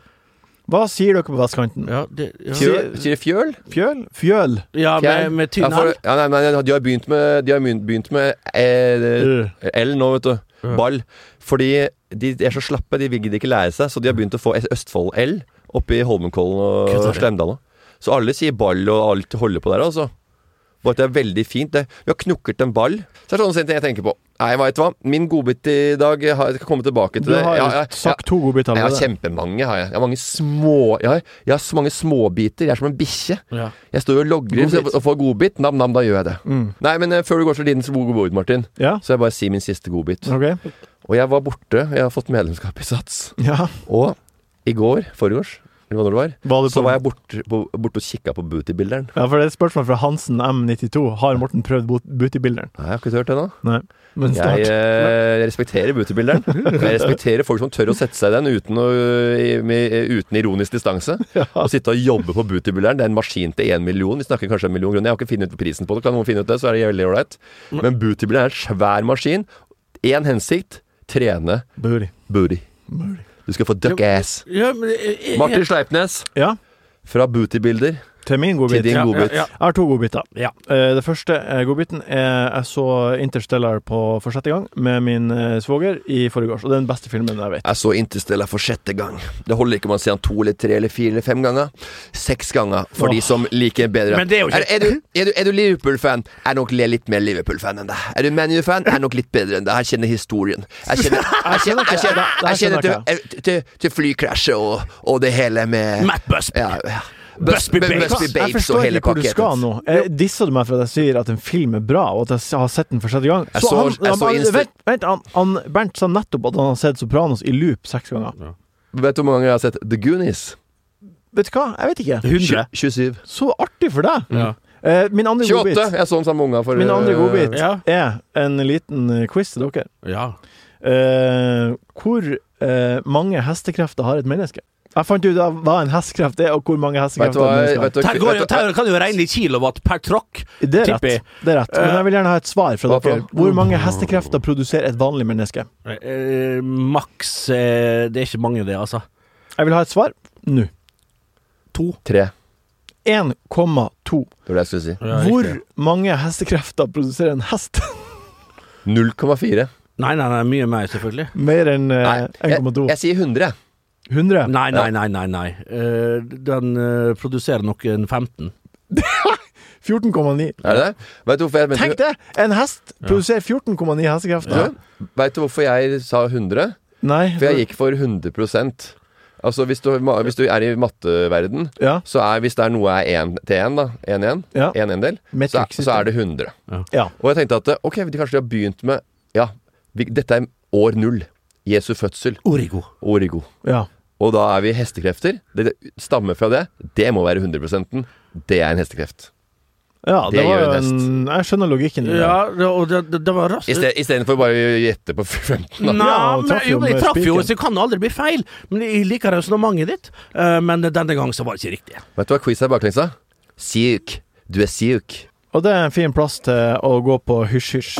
Speaker 5: Hva sier dere på vestkanten?
Speaker 4: Ja, det, ja.
Speaker 3: Fjøl, sier de fjøl?
Speaker 5: Fjøl? Fjøl.
Speaker 4: ja
Speaker 3: Fjær?
Speaker 4: med, med
Speaker 3: Ja,
Speaker 4: tynn
Speaker 3: for-
Speaker 4: hals.
Speaker 3: ja, nei, nei, nei, de har begynt med, de har begynt- begynt med
Speaker 4: Øh.
Speaker 3: eh, L nå, vet du. Ball. Fordi de er så slappe, de vil de ikke lære seg, så de har begynt å få Østfold-L oppe i Holmenkollen
Speaker 4: Kødder
Speaker 3: og
Speaker 4: du?
Speaker 3: Slemdal nå. Så alle sier ball og alt holder på der, altså. Bare at det er veldig fint. Det. Vi har knukket en ball. Så er det sånne ting jeg tenker på. Nei, vet du hva. Min godbit i dag jeg har- Jeg skal komme tilbake til
Speaker 5: Du
Speaker 3: det.
Speaker 5: har
Speaker 3: Ja, ja,
Speaker 5: jo
Speaker 3: ja.
Speaker 5: sagt to godbiter
Speaker 3: Jeg har
Speaker 5: allerede.
Speaker 3: kjempemange, har jeg. Jeg har mange små Jeg har, jeg har så mange småbiter. Jeg er som en bikkje.
Speaker 4: Ja.
Speaker 3: Jeg står og logrer
Speaker 5: Godbit.
Speaker 3: og- og får godbit. Nam-nam, da gjør jeg det. Nei, men eh, før du går så liten så god godbit, Martin,
Speaker 5: Ja.
Speaker 3: så jeg bare si min siste godbit.
Speaker 5: OK.
Speaker 3: Og jeg var borte. Jeg har fått medlemskap i Sats.
Speaker 5: Ja.
Speaker 3: Og i går, forgårs, eller hva når det var,
Speaker 5: Var du på-
Speaker 3: så var jeg borte, på, borte og kikka på bootybilderen.
Speaker 5: ja, for det er et spørsmål fra Hansen M92. Har Morten prøvd bot- Booty-bilderen?
Speaker 3: Nei, jeg har ikke hørt det ennå.
Speaker 5: Nei. Men snart.
Speaker 3: Jeg eh, respekterer bootybilderen. Og Jeg respekterer folk som tør å sette seg i den uten, å, i- med, uten ironisk distanse. Å sitte og jobbe på bootybilderen, det er en maskin til én million. Vi snakker kanskje en million kroner. Jeg har ikke funnet ut prisen på det. Kan noen finne ut det, så er det veldig ålreit. Men bootybilderen er en svær maskin. Én hensikt trene
Speaker 5: Booty.
Speaker 3: booty. Du skal få duck ass.
Speaker 4: Ja, men, eh, eh,
Speaker 3: Martin Sleipnes,
Speaker 5: Ja.
Speaker 3: fra bootybilder
Speaker 5: Til min godbit.
Speaker 3: til din
Speaker 4: Ja, ja,
Speaker 3: godbit.
Speaker 4: ja.
Speaker 5: Jeg har to godbiter.
Speaker 4: Ja.
Speaker 5: Eh, Det første eh, godbiten er Jeg så Interstellar på for sjette gang med min eh, svoger i forgårs, og det er den beste filmen jeg vet.
Speaker 3: Jeg så Interstellar for sjette gang. Det holder ikke om man ser han to eller tre eller fire eller fem ganger. Seks ganger for de som liker bedre.
Speaker 4: Men det er jo ikke-
Speaker 3: er, du, er, du, er du Liverpool-fan? Jeg er nok le- litt mer Liverpool-fan enn deg. Er du ManU-fan? Jeg er nok litt bedre enn deg. Jeg kjenner historien. Jeg kjenner, jeg kjenner, jeg kjenner, jeg
Speaker 5: skjønner
Speaker 3: kjenner til, til, til flykrasjet og, og det hele med
Speaker 4: Matt Busby.
Speaker 3: Ja, ja.
Speaker 4: Busby
Speaker 3: Bus-
Speaker 4: Babes.
Speaker 3: Busby
Speaker 5: Jeg
Speaker 3: Babes og
Speaker 5: forstår
Speaker 3: hele
Speaker 5: ikke hvor du skal
Speaker 3: paketten.
Speaker 5: nå. Eh, Disser du meg for at jeg sier at en film er bra, og at jeg har sett den for sjette gang?
Speaker 3: Jeg så- jeg så
Speaker 5: han,
Speaker 3: Insta-
Speaker 5: vent, vent han, han, Bernt sa nettopp at han har sett Sopranos i loop seks ganger.
Speaker 3: Vet du hvor mange ganger jeg har sett The Goonies?
Speaker 5: Vet du hva, jeg vet ikke.
Speaker 4: 100.
Speaker 3: 27.
Speaker 5: Så artig for deg! Eh, min andre
Speaker 3: 28!
Speaker 5: godbit,
Speaker 3: Jeg så den sammen med unga for
Speaker 5: min andre
Speaker 3: øh,
Speaker 5: godbit
Speaker 4: Ja.
Speaker 5: er en liten eh, quiz til dere.
Speaker 4: Ja.
Speaker 5: Eh, hvor eh, mange hestekrefter har et menneske? Jeg fant ut av hva en hestekraft er, og hvor mange
Speaker 3: Vet du
Speaker 5: hestekrefter
Speaker 3: hva
Speaker 5: den
Speaker 3: vet
Speaker 5: skal
Speaker 3: du-
Speaker 4: Her, går,
Speaker 3: vet du-
Speaker 4: her kan du jo regne i kilowatt per tråkk.
Speaker 5: ha. Det er
Speaker 4: tipper jeg.
Speaker 5: rett. Det er rett. Men jeg vil gjerne ha et svar fra
Speaker 3: Hva for?
Speaker 5: dere. Hvor mange hestekrefter produserer et vanlig menneske?
Speaker 4: Eh, maks eh, Det er ikke mange, det, altså.
Speaker 5: Jeg vil ha et svar nå.
Speaker 4: To.
Speaker 3: Tre.
Speaker 5: 1,2.
Speaker 3: Det var det jeg skulle si.
Speaker 5: Hvor mange hestekrefter produserer en hest?
Speaker 3: 0,4.
Speaker 4: Nei, nei, nei, mye mer, selvfølgelig.
Speaker 5: Mer enn
Speaker 3: Nei,
Speaker 5: eh,
Speaker 3: jeg,
Speaker 5: 1,2.
Speaker 3: jeg sier 100. jeg.
Speaker 5: 100?
Speaker 4: Nei, nei, nei, nei. nei. Eh, den eh, produserer nok en 15.
Speaker 5: 14,9.
Speaker 3: Er det det? Vet du hvorfor jeg
Speaker 5: Tenk det! En hest produserer 14,9 hestekrefter.
Speaker 3: Ja. Vet du hvorfor jeg sa 100?
Speaker 5: Nei.
Speaker 3: For jeg gikk for 100 Altså hvis du, hvis du er i matteverden
Speaker 5: Ja.
Speaker 3: så er, hvis det er noe er 1 til 1, da, 1 1,
Speaker 5: Ja.
Speaker 3: 1 1 del, så, er-
Speaker 5: Metriksystem.
Speaker 3: så er det 100.
Speaker 5: Ja.
Speaker 3: Og jeg tenkte at eh, ok, de kanskje de har begynt med Ja, vi, dette er år null. Jesu fødsel.
Speaker 4: Origo.
Speaker 3: Origo.
Speaker 5: ja.
Speaker 3: Og da er vi hestekrefter. Det det stammer fra det. Det må være 100 Det er en hestekreft.
Speaker 5: ja det,
Speaker 3: Det
Speaker 5: var
Speaker 3: gjør
Speaker 5: jo
Speaker 3: en hest.
Speaker 5: en Jeg skjønner logikken. i det.
Speaker 4: Ja, det- og det, det, det var raskt.
Speaker 3: Istedenfor bare å gjette på 15.
Speaker 4: Nei,
Speaker 3: Da.
Speaker 5: Ja, og
Speaker 4: men,
Speaker 5: traff jo
Speaker 4: jo, men jeg
Speaker 5: med
Speaker 4: traff jo,
Speaker 5: spiken.
Speaker 4: så det kan aldri bli feil. Men jeg liker resonnementet ditt. Eh, men denne gang så var det ikke riktig.
Speaker 3: Vet du hva quiz er baklengs, da? Syk. Du er syk.
Speaker 5: Og det er en fin plass til å gå på hysj-hysj.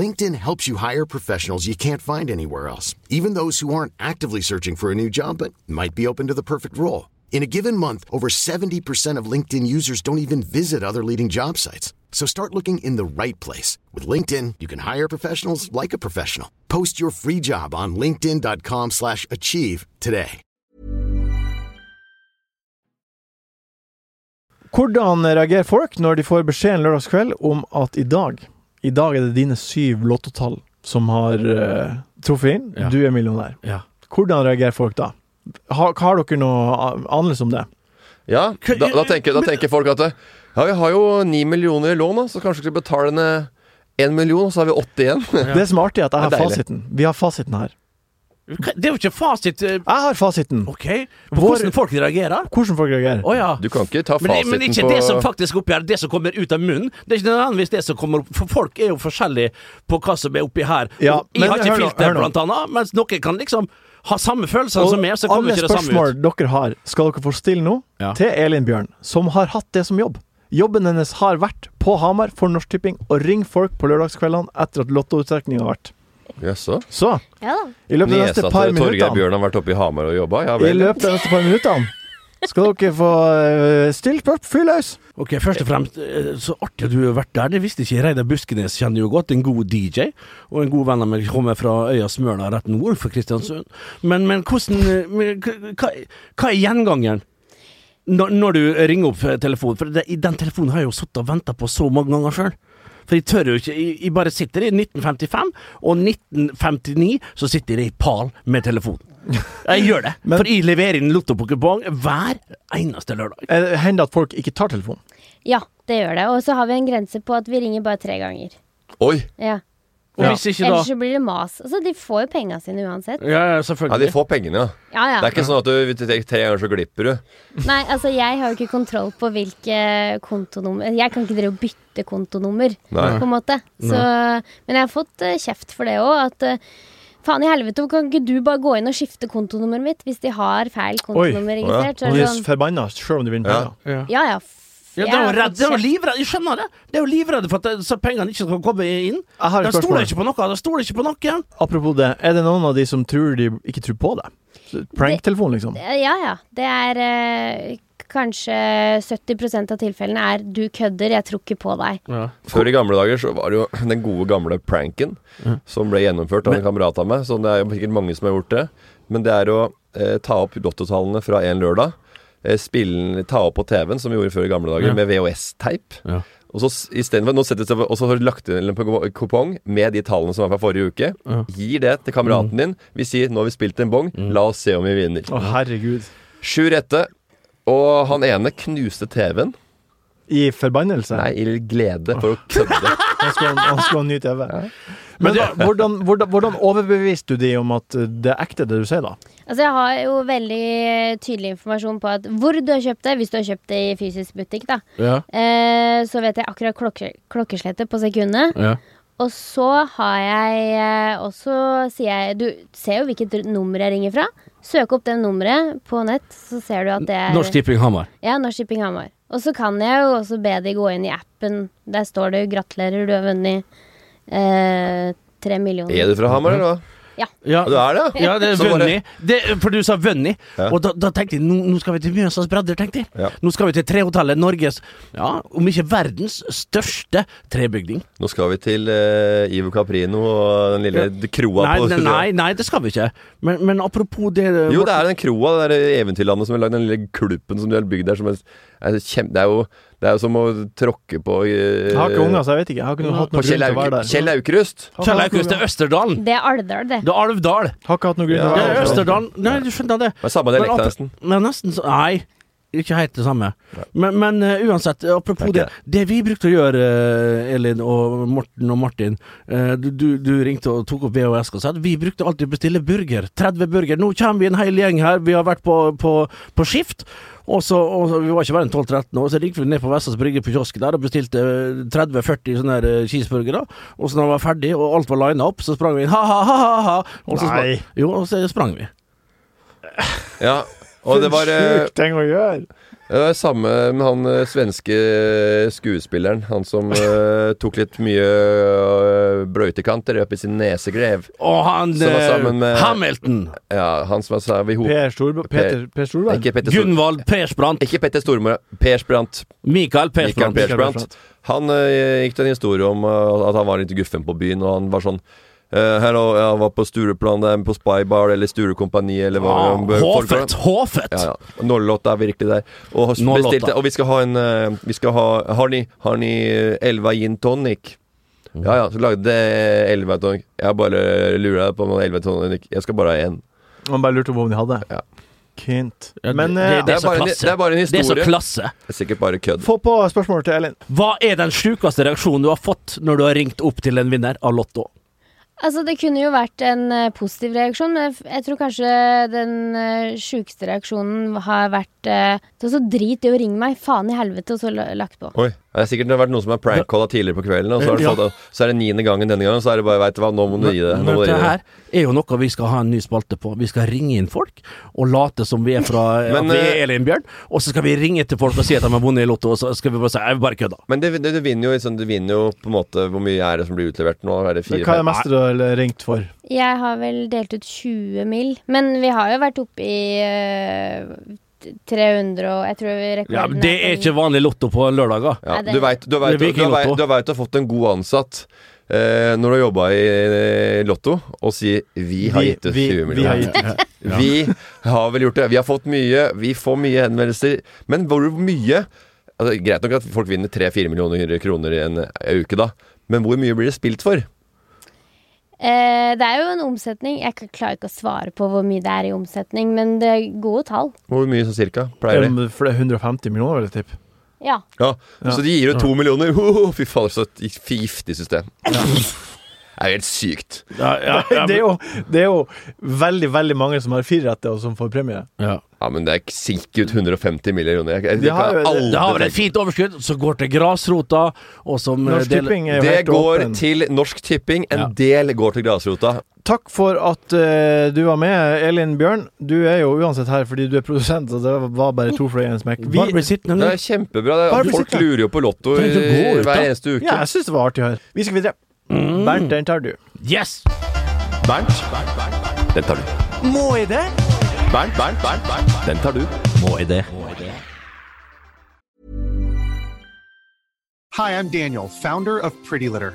Speaker 8: LinkedIn helps you hire professionals you can't find anywhere else, even those who aren't actively searching for a new job but might be open to the perfect role. In a given month, over 70% of LinkedIn users don't even visit other leading job sites. So start looking in the right place. With LinkedIn, you can hire professionals like a professional. Post your free job on linkedin.com/achieve slash achieve today.
Speaker 5: Hvordan reagerer folk når de får beskjed en lørdagskveld om at i dag I dag er det dine syv lottotall som har eh, truffet inn?
Speaker 4: Ja.
Speaker 5: Du er millionær.
Speaker 4: Ja.
Speaker 5: Hvordan reagerer folk da? Har, har dere noe a- anelse om det?
Speaker 3: Ja, da, da, tenker, da tenker folk at Ja, vi har jo ni millioner i lån, da, så kanskje vi skal betale ned én million, så har vi 80 igjen.
Speaker 5: Det som er artig, er at jeg
Speaker 3: Det
Speaker 5: har
Speaker 3: er deilig.
Speaker 5: fasiten. Vi har fasiten her.
Speaker 4: Det er jo ikke fasit. eh,
Speaker 5: Jeg har fasiten!
Speaker 4: OK? På
Speaker 5: Vår-
Speaker 4: hvordan folk reagerer?
Speaker 5: Hvordan folk reagerer.
Speaker 4: Å ja.
Speaker 3: Du kan ikke ta
Speaker 4: Men, det-
Speaker 3: fasiten
Speaker 4: men det er ikke
Speaker 3: på
Speaker 4: det som faktisk oppgjør det som kommer ut av munnen. Det er ikke nødvendigvis det som kommer opp, For folk er jo forskjellige på hva som er oppi her.
Speaker 5: Ja,
Speaker 4: Og jeg
Speaker 5: men
Speaker 4: har ikke
Speaker 5: hør nå, hør
Speaker 4: filter,
Speaker 5: nå.
Speaker 4: blant annet, mens noen kan liksom ha samme følelser som meg, så kommer
Speaker 5: alle
Speaker 4: ikke det samme
Speaker 5: spørsmål
Speaker 4: ut.
Speaker 5: dere har, skal dere få stille nå
Speaker 4: Ja.
Speaker 5: til Elin Bjørn, som har hatt det som jobb. Jobben hennes har vært på Hamar for Norsk Tipping og ringe folk på lørdagskveldene etter at lottouttrekninga har vært.
Speaker 3: Jaså?
Speaker 5: Så
Speaker 6: Ja da.
Speaker 5: i løpet av de
Speaker 3: Niesa
Speaker 5: neste
Speaker 3: til
Speaker 5: altså, par
Speaker 3: Torgeir
Speaker 5: minuttene
Speaker 3: Bjørn har vært oppe i Hamar og jobba? Ja
Speaker 5: I
Speaker 3: vel.
Speaker 5: løpet av de neste par minuttene skal dere få uh, stille spørsmål. Fyr løs!
Speaker 4: Ok, Først og fremst, eh, så artig at du har vært der. Det visste ikke jeg. Reidar Buskenes kjenner jo godt. En god DJ. Og en god venn av meg kommer fra øya Smøla, rett nord for Kristiansund. Men, men hvordan eh, men, k- hva, hva er gjengangeren? Når, når du ringer opp eh, telefonen For det, i den telefonen har jeg jo sittet og venta på så mange ganger sjøl. For jeg tør jo ikke jeg, jeg bare sitter i 1955, og 1959 så sitter jeg i pal med telefonen. Jeg gjør det.
Speaker 5: Men-
Speaker 4: for jeg leverer inn lotto på kupong hver eneste lørdag.
Speaker 5: Eh, det Hender det at folk ikke tar telefonen?
Speaker 6: Ja, det gjør det. Og så har vi en grense på at vi ringer bare tre ganger.
Speaker 3: Oi!
Speaker 6: Ja.
Speaker 4: Og hvis ikke da
Speaker 6: Ellers så blir det mas. Altså, de får jo penga sine uansett.
Speaker 4: Ja, ja,
Speaker 3: Ja,
Speaker 4: selvfølgelig.
Speaker 3: de får pengene, ja.
Speaker 6: Ja, ja.
Speaker 3: Det er ikke sånn at du tre ganger så glipper du.
Speaker 6: Nei, altså, jeg har jo ikke kontroll på hvilke kontonummer Jeg kan ikke drive og bytte kontonummer,
Speaker 3: Nei.
Speaker 6: på en måte. Så, men jeg har fått eh, kjeft for det òg, at eh, Faen i helvete, hvorfor kan ikke du bare gå inn og skifte kontonummeret mitt hvis de har feil kontonummer registrert? Så
Speaker 5: Og
Speaker 6: er
Speaker 5: de
Speaker 6: det
Speaker 5: er
Speaker 6: sånn,
Speaker 5: forbanna sjøl om de vinner
Speaker 3: Ja.
Speaker 5: penger.
Speaker 6: ja, ja, f-
Speaker 4: Ja,
Speaker 6: jeg
Speaker 4: det er jo
Speaker 6: har
Speaker 4: redd,
Speaker 6: fått
Speaker 4: det er jo
Speaker 6: kjeft.
Speaker 4: livredde, jeg skjønner det. Det er jo livredde for at det, så pengene ikke skal komme inn.
Speaker 5: Jeg har et
Speaker 4: De stoler
Speaker 5: spørsmål.
Speaker 4: ikke på noe. De stoler ikke på noe.
Speaker 5: Apropos det, er det noen av de som tror de ikke tror på deg? Pranktelefon, liksom?
Speaker 6: Ja, ja. Det er eh, kanskje 70 av tilfellene er 'du kødder, jeg tror ikke på deg'.
Speaker 3: Før i gamle dager så var det jo den gode gamle pranken som ble gjennomført av en kamerat av meg. Så det er jo sikkert mange som har gjort det. Men det er å eh, ta opp lottotallene fra en lørdag, eh, spille, ta opp på TV-en, som vi gjorde før i gamle dager,
Speaker 4: Ja.
Speaker 3: med VHS-teip. Og så s- i stedet for, nå setter jeg, og så har du lagt inn en pong- kupong med de tallene som var fra forrige uke. Gir det til kameraten din. Vi sier 'nå har vi spilt en bong, la oss se om vi vinner'.
Speaker 5: Å, herregud.
Speaker 3: Sju rette. Og han ene knuste TV-en.
Speaker 5: I forbannelse?
Speaker 3: Nei, i glede for å kødde.
Speaker 5: Han skulle ha- han skulle ha en ny TV. Men da, hvordan, hvordan, hvordan overbeviste du de om at eh, det er ekte, det du sier, da?
Speaker 6: Altså Jeg har jo veldig eh, tydelig informasjon på at hvor du har kjøpt det, hvis du har kjøpt det i fysisk butikk, da.
Speaker 5: Ja.
Speaker 6: Eh, så vet jeg akkurat klokke, klokkeslettet på sekundet. Og så har jeg eh, også sier jeg Du ser jo hvilket r- nummer jeg ringer fra. Søk opp det nummeret på nett, så ser du at det er
Speaker 4: Norsk Tipping Hamar.
Speaker 6: Ja, Norsk Tipping Hamar. Og så kan jeg jo også be de gå inn i appen. Der står det jo 'Gratulerer, du har vunnet eh, tre millioner'.
Speaker 3: Er du fra Hamar, eller hva?
Speaker 6: Ja.
Speaker 4: Ja,
Speaker 3: Du er det?
Speaker 4: ja. det er
Speaker 3: Så bare-
Speaker 4: Vønni. Det- For du sa Vønni, og da, da tenkte jeg nå, nå skal vi til Mjøsas bredder, tenkte jeg.
Speaker 3: Ja.
Speaker 4: Nå skal vi til Trehotellet, Norges, ja, om ikke verdens største trebygning.
Speaker 3: Nå skal vi til eh, Ivo Caprino og den lille d- kroa
Speaker 4: Nei,
Speaker 3: på
Speaker 4: nei, nei, nei, det skal vi ikke. Men, men apropos det
Speaker 3: Jo, det er den kroa, det der eventyrlandet som er lagd, den lille klubben som de har bygd der. Som er, er kjem, det, er jo, det er jo som å tråkke på eh,
Speaker 5: Jeg har ikke unger, så jeg vet ikke. Jeg har ikke noe, hatt
Speaker 3: På
Speaker 5: noe grunn
Speaker 3: Kjell,
Speaker 5: til å være
Speaker 3: Auk
Speaker 5: der.
Speaker 3: Kjell Aukrust.
Speaker 4: Kjell Aukrust, det er Østerdalen.
Speaker 6: Det er Alvdal, det.
Speaker 4: Det er Alvdal.
Speaker 5: Har ikke hatt noe grunn til
Speaker 4: Det
Speaker 5: å
Speaker 4: er
Speaker 5: være der.
Speaker 4: Østerdalen. Nei, du skjønner det.
Speaker 3: Det er samme dialekt,
Speaker 4: Men ap-
Speaker 3: nesten.
Speaker 4: Men nesten så Nei. Ikke helt det samme. Men, men eh, uansett,
Speaker 3: Det
Speaker 4: apropos
Speaker 3: er
Speaker 4: det.
Speaker 3: ikke
Speaker 4: Det vi brukte å gjøre, eh, Elin og Morten og Martin eh, du, du, du ringte og tok opp VHS-kassett. Vi brukte alltid å bestille burger. 30 burger. Nå kommer vi en hel gjeng her. Vi har vært på, på, på skift. Og så, og så, Vi var ikke verre enn 12-13 år, så ringte vi ned på Vestlands Brygge på kiosken der og bestilte eh, 30-40 sånne her, eh, cheeseburgere. Og så når vi var ferdig og alt var lina opp, så sprang vi inn. Ha-ha-ha! Og så
Speaker 5: Nei.
Speaker 4: sprang, jo, og så sprang vi.
Speaker 3: Ja. Og det var, eh,
Speaker 5: Sjukt ting å gjøre.
Speaker 3: det var samme med han eh, svenske eh, skuespilleren. Han som eh, tok litt mye eh, brøytekanter oppi sin nesegrev.
Speaker 4: Og han
Speaker 3: Som var
Speaker 4: eh,
Speaker 3: sammen med-
Speaker 4: Hamilton!
Speaker 3: Ja, han som var sa vi ho...
Speaker 5: Per, Storb Peter, per Storberg?
Speaker 3: Ikke Petter Stor-
Speaker 4: Gunvald Persbrandt.
Speaker 3: Ikke Petter Stormø. Persbrandt. Mikael
Speaker 4: Mikael Persbrandt.
Speaker 3: Persbrandt. Han eh, gikk til en historie om eh, at han var litt guffen på byen, og han var sånn eh, Hello, jeg var på Stureplan, det er på Spybar eller Sturekompani eller hva
Speaker 4: Ah,
Speaker 3: om- folk-
Speaker 4: Håfet! Håfet!
Speaker 3: Ja, ja. 08 er virkelig der. Og, s-
Speaker 4: Nålåtta.
Speaker 3: bestilte, og vi skal ha en eh, vi skal ha, Har ni, har ni eh, 11 gin tonic? Ja ja, så lagde jeg 11 tonic. Jeg bare lurer deg på om det er 11 tonic. Jeg skal bare ha én.
Speaker 5: Man bare lurte på om de hadde.
Speaker 3: Ja.
Speaker 5: Kent.
Speaker 4: Ja, det-
Speaker 5: Men
Speaker 4: det,
Speaker 5: eh,
Speaker 4: det,
Speaker 3: er
Speaker 4: er så
Speaker 3: bare en-
Speaker 4: klasse.
Speaker 3: det er bare en
Speaker 4: Det er
Speaker 3: historie.
Speaker 4: så klasse.
Speaker 3: Det er Sikkert bare kødd.
Speaker 5: få på spørsmålet til Elin.
Speaker 4: Hva er den sjukeste reaksjonen du har fått når du har ringt opp til en vinner av Lotto?
Speaker 6: Altså, det kunne jo vært en eh, positiv reaksjon. men Jeg f- jeg tror kanskje den eh, sjukeste reaksjonen har vært eh, Det var så drit i å ringe meg, faen i helvete, og så la- lagt på.
Speaker 3: Oi. Det er sikkert det har vært noen som har prankcalla tidligere på kvelden, og så, har det
Speaker 4: Ja.
Speaker 3: fått, så er det niende gangen denne gangen, så er det bare veit du hva, nå må du gi det. Nå må du gi
Speaker 4: Dette
Speaker 3: det.
Speaker 4: her er jo noe vi skal ha en ny spalte på. Vi skal ringe inn folk og late som vi er fra
Speaker 3: Men,
Speaker 4: at vi
Speaker 3: eh,
Speaker 4: er Elin Bjørn, og så skal vi ringe til folk og si at de har vunnet i Lotto, og så skal vi bare si jeg bare kødda.
Speaker 3: Men det, det, du vinner jo liksom, du vinner jo på en måte Hvor mye er det som blir utlevert nå? Er det
Speaker 5: Hva
Speaker 3: fire?
Speaker 5: er det
Speaker 3: fem-
Speaker 5: meste du har ringt for?
Speaker 6: Jeg har vel delt ut 20 mill., men vi har jo vært oppe i eh, 300 og Jeg tror vi
Speaker 4: Ja,
Speaker 6: rekorden
Speaker 4: men det er ikke vanlig Lotto på lørdager.
Speaker 3: Ja,
Speaker 6: Nei, det-
Speaker 3: du veit du, vet-
Speaker 4: Det blir ikke
Speaker 3: du, vet-
Speaker 4: lotto.
Speaker 3: du, vet du har fått en god ansatt eh, når du har jobba i eh, Lotto, og sier 'vi har gitt ut
Speaker 5: vi,
Speaker 3: 20
Speaker 5: vi har
Speaker 3: millioner'.
Speaker 5: gitt ut.
Speaker 3: Vi har vel gjort det. Vi har fått mye. Vi får mye henvendelser. Men hvor mye altså, Greit nok at folk vinner 3-4 millioner kroner i en eh, uke, da. Men hvor mye blir det spilt for?
Speaker 6: Eh, det er jo en omsetning. Jeg k- klarer ikke å svare på hvor mye det er i omsetning, men det er gode tall.
Speaker 3: Hvor mye sånn cirka? Pleier det?
Speaker 5: Um, For det er 150 millioner, vil jeg tippe.
Speaker 6: Ja.
Speaker 3: Ja. Så de gir jo to millioner. Ho, ho, fy fader, så et giftig system. Det er jo helt sykt.
Speaker 4: Ja, ja, ja,
Speaker 5: Det er, jo, det er jo veldig veldig mange som har firerette, og som får premie.
Speaker 4: ja.
Speaker 3: Ja, men det er sikkert 150 millioner. Jeg, jeg,
Speaker 5: De har jo-
Speaker 3: jeg kan aldri
Speaker 4: Det har vel et fint overskudd som går til grasrota, og som eh,
Speaker 5: Norsk
Speaker 4: deler-
Speaker 5: Tipping er jo
Speaker 3: Det
Speaker 5: helt
Speaker 3: går
Speaker 5: åpen.
Speaker 3: til Norsk Tipping. En del går til grasrota.
Speaker 5: Takk for at eh, du var med, Elin Bjørn. Du er jo uansett her fordi du er produsent, så det var bare to fløyer i en smekk. Vi,
Speaker 4: Bare bli sittende
Speaker 3: Det
Speaker 4: nå.
Speaker 3: er kjempebra. Det
Speaker 5: Bare
Speaker 3: er,
Speaker 5: bli
Speaker 3: folk
Speaker 5: sittende.
Speaker 3: lurer jo på Lotto
Speaker 4: Trenger ikke å gå
Speaker 3: eh,
Speaker 4: ut, da.
Speaker 3: hver eneste uke. Mm.
Speaker 5: ja, jeg syns det var artig her. Vi skal videre. Bernt, den tar du.
Speaker 4: Yes!
Speaker 3: Bernt, den tar du. Må jeg det? Bernt, Bernt, Bernt, Bernt, den tar du.
Speaker 4: Må jeg det?
Speaker 8: Hi, I'm Daniel, founder of Pretty Litter.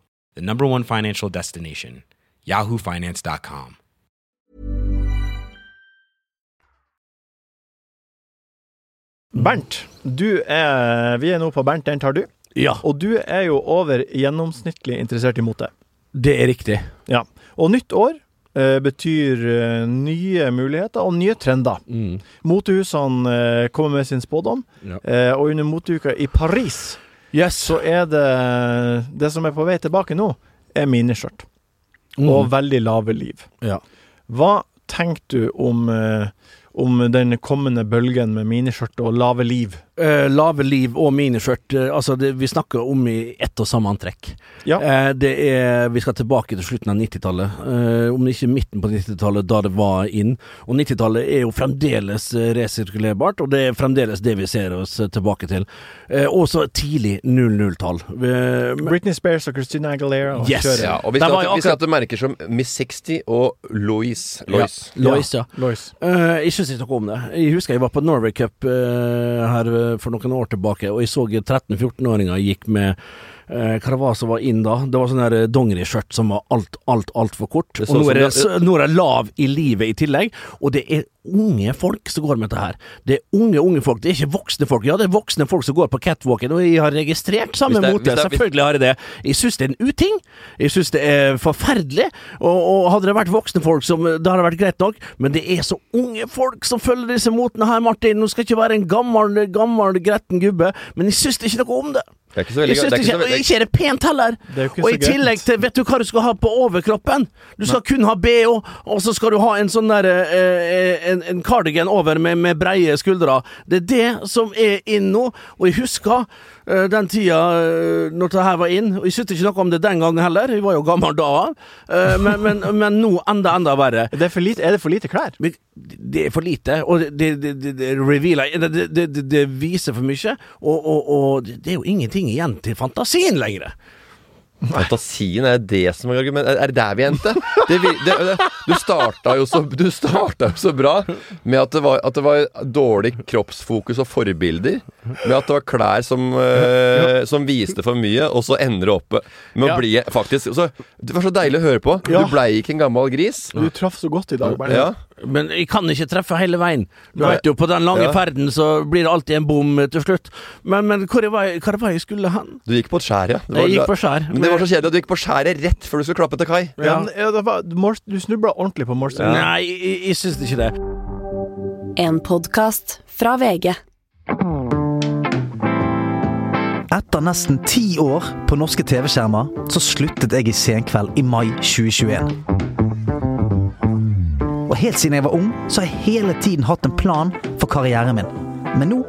Speaker 7: the number one financial destination, yahoofinance.com.
Speaker 5: Bernt, du er, vi er nå på Bernt, den tar du.
Speaker 4: Ja.
Speaker 5: Og du er jo over gjennomsnittlig interessert i mote.
Speaker 4: Det er riktig.
Speaker 5: Ja. Og nytt år eh, betyr eh, nye muligheter og nye trender.
Speaker 4: Mm.
Speaker 5: Motehusene eh, kommer med sin spådom, eh, og under moteuka i Paris
Speaker 4: så
Speaker 5: er det Det som er på vei tilbake nå, er miniskjørt.
Speaker 4: Mm.
Speaker 5: Og veldig lave liv. Hva tenker du om, eh, om den kommende bølgen med miniskjørt og lave liv?
Speaker 4: Eh, lave liv og miniskjørt eh, Altså, det, vi snakker om i ett og samme antrekk. Eh, det er Vi skal tilbake til slutten av 90-tallet. Eh, om det ikke er midten på 90-tallet, da det var inn. Og 90-tallet er jo fremdeles eh, resirkulerbart, og det er fremdeles det vi ser oss eh, tilbake til. Eh, også tidlig 00-tall. Eh, men-
Speaker 5: Britney Spears og Christina Aguilera og
Speaker 4: Yes.
Speaker 5: kjøret.
Speaker 4: Ja,
Speaker 3: Og vi
Speaker 4: Der
Speaker 3: skal,
Speaker 4: var jo
Speaker 3: til, vi skal
Speaker 4: akkurat-
Speaker 3: til merker som Miss 60 og Lois. Lois.
Speaker 4: Ja, Lois, ja.
Speaker 5: Lois.
Speaker 4: Eh, jeg syns ikke noe om det. Jeg husker jeg var på Norway Cup eh, her eh, for noen år tilbake, og jeg så 13-14-åringer gikk med eh, hva det var som var inn da? Det var sånn der eh, dongeriskjørt som var alt, alt, altfor kort.
Speaker 3: Det så
Speaker 4: Og nå
Speaker 3: som
Speaker 4: er det,
Speaker 3: det-
Speaker 4: s- nå er det lav i livet i tillegg, og det er unge folk som går med dette her. Det er unge, unge folk. Det er ikke voksne folk. Ja, det er voksne folk som går på catwalken, og jeg har registrert samme
Speaker 3: Hvis det er-
Speaker 4: mote.
Speaker 3: hvis det er- hvis-
Speaker 4: Selvfølgelig har jeg det. Jeg syns det er en uting. Jeg syns det er forferdelig. Og, og hadde det vært voksne folk som Da hadde det vært greit nok, men det er så unge folk som følger disse motene her, Martin. Nå skal jeg ikke være en gammel, gammel gretten gubbe, men jeg syns det er ikke noe om det.
Speaker 3: Det er ikke så veldig
Speaker 4: Jeg syns
Speaker 3: det er
Speaker 4: ikke,
Speaker 3: ikke så veldig-
Speaker 4: og ikke er det pent heller.
Speaker 3: Det er jo ikke
Speaker 4: Og
Speaker 3: så
Speaker 4: i tillegg til Vet du hva du skal ha på overkroppen? Du skal kun ha BH, og så skal du ha en sånn der eh, en, en cardigan over med, med breie skuldre. Det er det som er inn nå. Og jeg husker eh, den tida eh, når det her var inn, og jeg syntes ikke noe om det den gangen heller. Jeg var jo gammel da. eh, men, men, men nå enda, enda verre.
Speaker 5: Det er, for lite, er det for lite klær?
Speaker 4: Det er for lite, og det, det, det, det revealer det, det, det, det viser for mye, og, og, og det er jo ingenting igjen til fantasien lenger.
Speaker 3: Fantasien er det som er argument Er det der vi endte? Det, vi- det, det, du starta jo så, du starta jo så bra med at det, var, at det var dårlig kroppsfokus og forbilder. Med at det var klær som, eh, som viste for mye, og så ender det opp med å
Speaker 5: Ja.
Speaker 3: bli faktisk så, Det var så deilig å høre på.
Speaker 5: Ja.
Speaker 3: Du blei ikke en gammel gris.
Speaker 5: Du traff så godt i dag, Bernt.
Speaker 3: Ja.
Speaker 4: Men jeg kan ikke treffe hele veien. Du
Speaker 3: Nei.
Speaker 4: vet jo, på den lange
Speaker 3: Ja.
Speaker 4: ferden så blir det alltid en bom eh, til slutt. Men, men hvor var jeg, hvor var jeg skulle hen?
Speaker 3: Du gikk på et skjær, ja. Det
Speaker 4: Jeg gikk på et skjær.
Speaker 3: Men det var så kjedelig at du gikk på skjæret rett før du skulle klappe til kai.
Speaker 5: Ja, men, ja, det var, du mors- du snubla ordentlig på målstreken.
Speaker 4: Nei, jeg, jeg syns ikke det.
Speaker 1: En podkast fra VG.
Speaker 9: Etter nesten ti år på norske TV-skjermer, så sluttet jeg i Senkveld i mai 2021. Og helt siden jeg var ung, så har jeg hele tiden hatt en plan for karrieren min. Men nå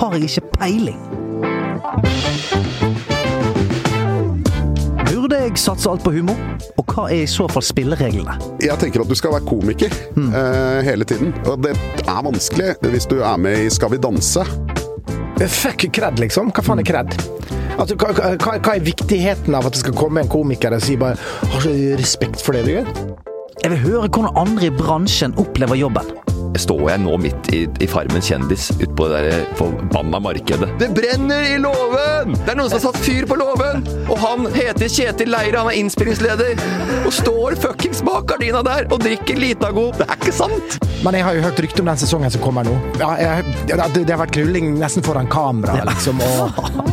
Speaker 9: har jeg ikke peiling. Burde jeg satse alt på humor? Og hva er i så fall spillereglene?
Speaker 10: Jeg tenker at du skal være komiker
Speaker 8: Hmm.
Speaker 10: eh, hele tiden. Og det er vanskelig hvis du er med i Skal vi danse.
Speaker 8: Eh,
Speaker 10: Hmm.
Speaker 11: Fuck cred, liksom. Hva faen er cred? Altså, hva, hva, hva er viktigheten av at det skal komme en komiker og si bare Har så respekt for det du gjør?
Speaker 9: Jeg vil høre hvordan andre i bransjen opplever jobben.
Speaker 3: står jeg nå midt i, i Farmen kjendis ute på det der forbanna markedet.
Speaker 12: Det brenner i låven! Det er noen som har satt fyr på låven! Og han heter Kjetil Leire, han er innspillingsleder. Og står fuckings bak gardina der og drikker Litago. Det er ikke sant!
Speaker 8: Men jeg har jo hørt rykte om den sesongen som kommer nå. Ja, jeg, det, det har vært krulling nesten foran kamera, liksom. Og...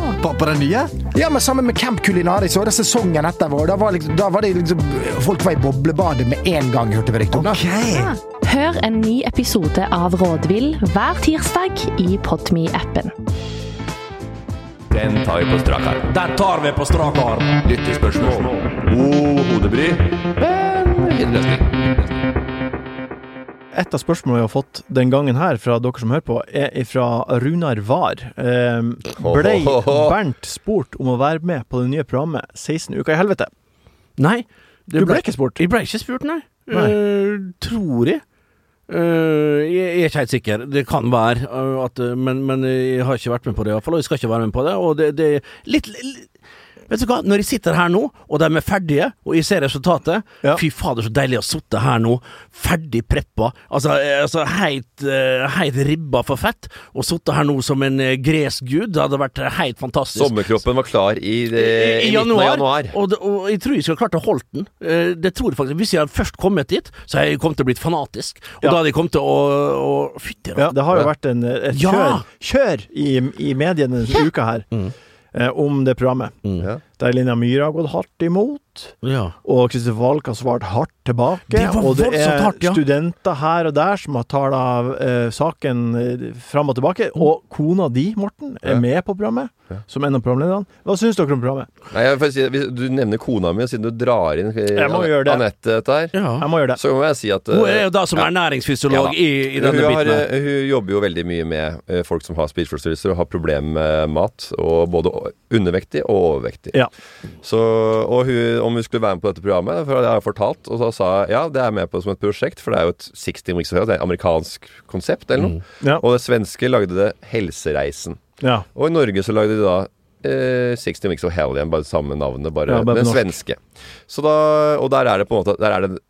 Speaker 13: På, på den nye?
Speaker 8: Ja, men sammen med Camp Culinaris og det sesongen etter vår. Da var, liksom, da var det liksom Folk var i boblebadet med en gang, hørte vi rykte om. da.
Speaker 1: Hør en ny episode av Rådvill hver tirsdag i Podme-appen.
Speaker 3: Den tar vi på strak arm.
Speaker 4: Den tar vi på strak arm.
Speaker 3: Lyttespørsmål. God hodebry. Men fin løsning.
Speaker 5: Et av spørsmålene vi har fått den gangen her fra dere som hører på, er fra Runar Var. Ehm, Blei Bernt spurt om å være med på det nye programmet 16 uker i helvete?
Speaker 4: Nei.
Speaker 5: Du ble ikke spurt?
Speaker 4: Jeg ble ikke spurt, nei.
Speaker 5: Nei.
Speaker 4: Eh, tror jeg. Eh, jeg jeg er ikke helt sikker. Det kan være, eh, at, eh, men, men jeg har ikke vært med på det, iallfall. Og jeg skal ikke være med på det. Og det, det er litt, litt Vet du hva, når jeg sitter her nå, og de er ferdige, og jeg ser resultatet Fy fader, så deilig å ha sittet her nå, ferdig preppa, altså, eh, altså heit, eh, heit ribba for fett, og sittet her nå som en eh, gresk gud. Det hadde vært eh, helt fantastisk.
Speaker 3: Sommerkroppen var klar Eh, i, det,
Speaker 4: I
Speaker 3: midten av
Speaker 4: januar,
Speaker 3: januar.
Speaker 4: Og, det- og jeg tror jeg skulle klart å holde den. Eh, Det tror jeg faktisk Hvis jeg hadde først kommet dit, så hadde jeg kommet til å bli fanatisk. Og da hadde jeg kommet til å, å Fytti
Speaker 5: Ja, det har jo vært en, et
Speaker 4: Ja!
Speaker 5: kjør, kjør i, i mediene denne uka her eh, om det programmet. Der Linja Myhre har gått hardt imot,
Speaker 4: Ja.
Speaker 5: og Kristoffer Walk har svart hardt tilbake.
Speaker 4: Det var
Speaker 5: og det
Speaker 4: voldsomt
Speaker 5: er
Speaker 4: hardt, ja.
Speaker 5: studenter her og der som har tala eh, saken eh, fram og tilbake. Og kona di, Morten, er med på programmet, som en av programlederne. Hva syns dere om programmet?
Speaker 3: Nei, jeg vil si, hvis du nevner kona mi, og siden du drar inn eh,
Speaker 5: Jeg må
Speaker 3: Anne-
Speaker 5: gjøre det.
Speaker 3: Anette dette her,
Speaker 5: Jeg må gjøre det.
Speaker 3: så må jeg si at eh,
Speaker 4: Hun er jo da som
Speaker 3: ja.
Speaker 4: er næringsfysiolog
Speaker 3: Ja da.
Speaker 4: i, i denne
Speaker 3: hun, har,
Speaker 4: biten. her.
Speaker 3: eh, hun jobber jo veldig mye med eh, folk som har spiseforstyrrelser og har problemer med mat, og både o- undervektig og overvektig. Så, og hun, om hun skulle være med på dette programmet, for det har jeg fortalt, og så sa jeg ja, det er jeg med på som et prosjekt, for det er jo et 60 Weeks of Health, det er et amerikansk konsept eller noe.
Speaker 4: Mm.
Speaker 3: Og det svenske lagde det Helsereisen.
Speaker 5: Ja.
Speaker 3: Og i Norge så lagde de da eh, 60 Weeks of Hell igjen, bare samme navnet, bare,
Speaker 5: Ja, bare på
Speaker 3: den
Speaker 5: norsk.
Speaker 3: svenske. Så da, og der er det på en måte der er det,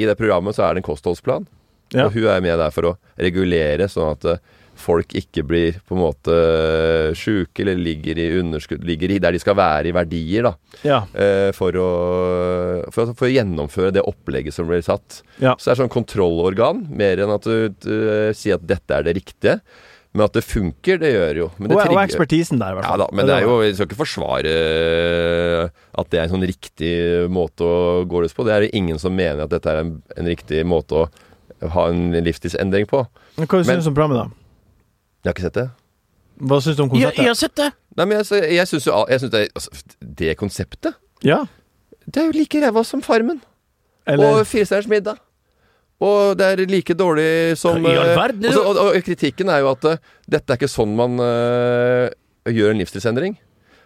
Speaker 3: I det programmet så er det en kostholdsplan,
Speaker 5: Ja.
Speaker 3: og hun er med der for å regulere sånn at eh, folk ikke blir på en måte eh, sjuke eller ligger i underskudd, ligger i der de skal være i verdier, da.
Speaker 5: Ja.
Speaker 3: Eh, for, å, for, å- for å gjennomføre det opplegget som blir satt.
Speaker 5: Ja.
Speaker 3: Så det er sånn kontrollorgan, mer enn at du, du sier at dette er det riktige. Men at det funker, det gjør jo. Men det
Speaker 5: Og, og
Speaker 3: trigger-
Speaker 5: ekspertisen der, i hvert
Speaker 3: Ja
Speaker 5: fall.
Speaker 3: da, men det er jo, vi skal ikke forsvare at det er en sånn riktig måte å gå løs på. Det er jo ingen som mener at dette er en, en riktig måte å ha en livsstilsendring på.
Speaker 5: Men Hva
Speaker 3: Men-
Speaker 5: syns du om programmet, da?
Speaker 3: Jeg har ikke sett det.
Speaker 5: Hva syns du om konseptet?
Speaker 4: sett det.
Speaker 3: Nei, men jeg, jeg syns jo jeg synes det, altså, det konseptet
Speaker 5: Ja.
Speaker 3: Det er jo like ræva som Farmen.
Speaker 5: Eller-
Speaker 3: Og Firestjerners middag. Og det er like dårlig som
Speaker 4: Hva i all
Speaker 3: eh,
Speaker 4: verden?
Speaker 3: og, så- og, og kritikken er jo at eh, dette er ikke sånn man eh, gjør en livsstilsendring.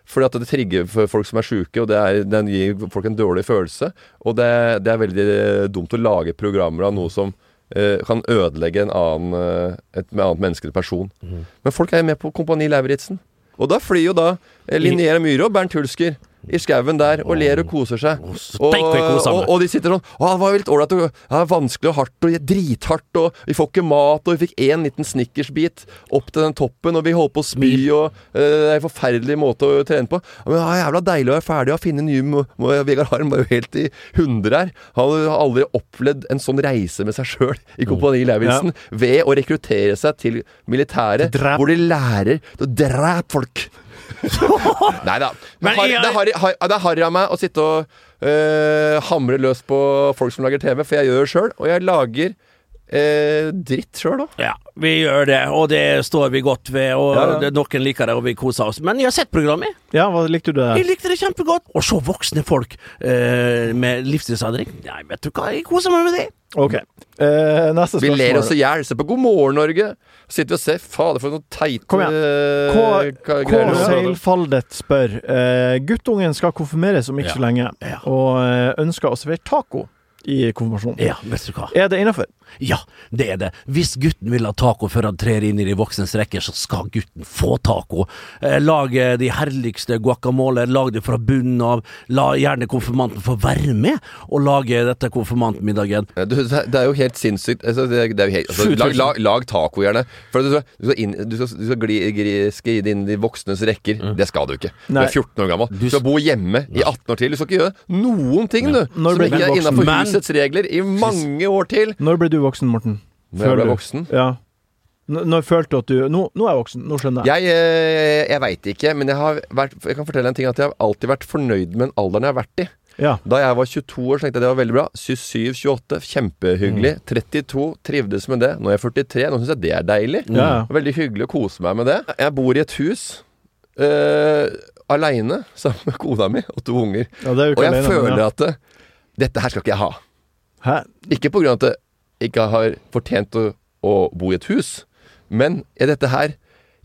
Speaker 3: Fordi at det trigger for folk som er sjuke, og det er, den gir folk en dårlig følelse. Og det, det er veldig eh, dumt å lage programmer av noe som eh, kan ødelegge en annen, eh, et annet menneske eller person.
Speaker 4: Mhm.
Speaker 3: Men folk er jo med på Kompani Lauritzen. Og da flyr jo da eh, Linnea Myhre og Bernt Hulsker i skauen der og ler og koser seg. Og,
Speaker 4: steik, vi koser
Speaker 3: og,
Speaker 4: meg.
Speaker 3: og de sitter sånn Å, det var jo litt ålreit. og- Ja, vanskelig og hardt og drithardt, og vi får ikke mat, og vi fikk én liten snickersbit opp til den toppen, og vi holdt på å spy, og eh, det er en forferdelig måte å trene på. Ja, Men ja, jævla deilig å være ferdig og finne nye må, må, Vegard Harm var jo helt i hundre her. Han har aldri opplevd en sånn reise med seg sjøl i Kompani Lauritzen ved å rekruttere seg til militæret, hvor de lærer til å drepe folk. Nei da. Det
Speaker 4: Men
Speaker 3: har-
Speaker 4: jeg-
Speaker 3: det har- har- det er harry av meg å sitte og øh, hamre løs på folk som lager TV, for jeg gjør det sjøl. Og jeg lager øh, dritt sjøl òg.
Speaker 4: Ja, vi gjør det, og det står vi godt ved. Og
Speaker 3: Ja, ja.
Speaker 4: det- noen liker det, og vi koser oss. Men jeg har sett programmet.
Speaker 5: Ja, hva likte du det
Speaker 4: Jeg
Speaker 5: der?
Speaker 4: likte det kjempegodt. Å se voksne folk eh, med livsstilsendring. Nei, vet du hva, jeg koser meg med det.
Speaker 5: Ok. Eh, neste
Speaker 3: Vi
Speaker 5: spørsmål.
Speaker 3: ler oss i hjel. Se på God morgen, Norge. Sitter vi og ser Fader, for noen teite
Speaker 5: Kom igjen.
Speaker 3: øh,
Speaker 5: K- K.
Speaker 3: ka- greier.
Speaker 5: Seilfaldet spør eh, Guttungen skal konfirmeres om ikke så lenge, og eh, ønsker å servere taco i konfirmasjonen.
Speaker 4: Ja, vet du hva.
Speaker 5: Er det innafor?
Speaker 4: Ja, det er det. Hvis gutten vil ha taco før han trer inn i de voksnes rekker, så skal gutten få taco. Eh, Lag eh, de herligste guacamole, lag det fra bunnen av. La gjerne konfirmanten få være med og lage dette konfirmantmiddagen.
Speaker 3: Du, det er- det er jo helt sinnssykt. Altså, det, er- det er jo helt, altså, lag, lag, lag taco, gjerne. For du skal, du skal, inn, du skal, du skal gli, gri, skride inn i de voksnes rekker.
Speaker 5: Mm.
Speaker 3: Det skal du ikke. Du
Speaker 14: Nei.
Speaker 3: er 14 år gammel. Du skal bo hjemme i 18 år til. Du skal ikke gjøre noen ting,
Speaker 5: Når
Speaker 3: du, som
Speaker 5: blir du
Speaker 3: ikke er
Speaker 5: voksen?
Speaker 3: innafor
Speaker 5: Men-
Speaker 3: husets regler i mange år til.
Speaker 5: Når ble du voksen, Morten?
Speaker 3: Når jeg
Speaker 5: Føler
Speaker 3: ble
Speaker 5: du-
Speaker 3: voksen?
Speaker 5: Ja. N- Når følte du at du Nå, nå er jeg voksen, nå skjønner jeg.
Speaker 3: Jeg, eh, jeg veit ikke, men jeg, har vært, jeg kan fortelle en ting at jeg har alltid vært fornøyd med den alderen jeg har vært i.
Speaker 5: Ja.
Speaker 3: Da jeg var 22 år, så tenkte jeg det var veldig bra. 27-28, kjempehyggelig.
Speaker 5: Mm.
Speaker 3: 32, trivdes med det. Nå er jeg 43, nå syns jeg det er deilig.
Speaker 5: Ja.
Speaker 3: Veldig hyggelig å kose meg med det. Jeg bor i et hus uh, aleine sammen med kona mi og to unger.
Speaker 5: Ja, det er jo ikke
Speaker 3: og jeg
Speaker 5: alene, men
Speaker 3: føler
Speaker 5: ja.
Speaker 3: at det, dette her skal ikke jeg ha.
Speaker 5: Hæ?
Speaker 3: Ikke på grunn av at jeg ikke har fortjent å, å bo i et hus, men i dette her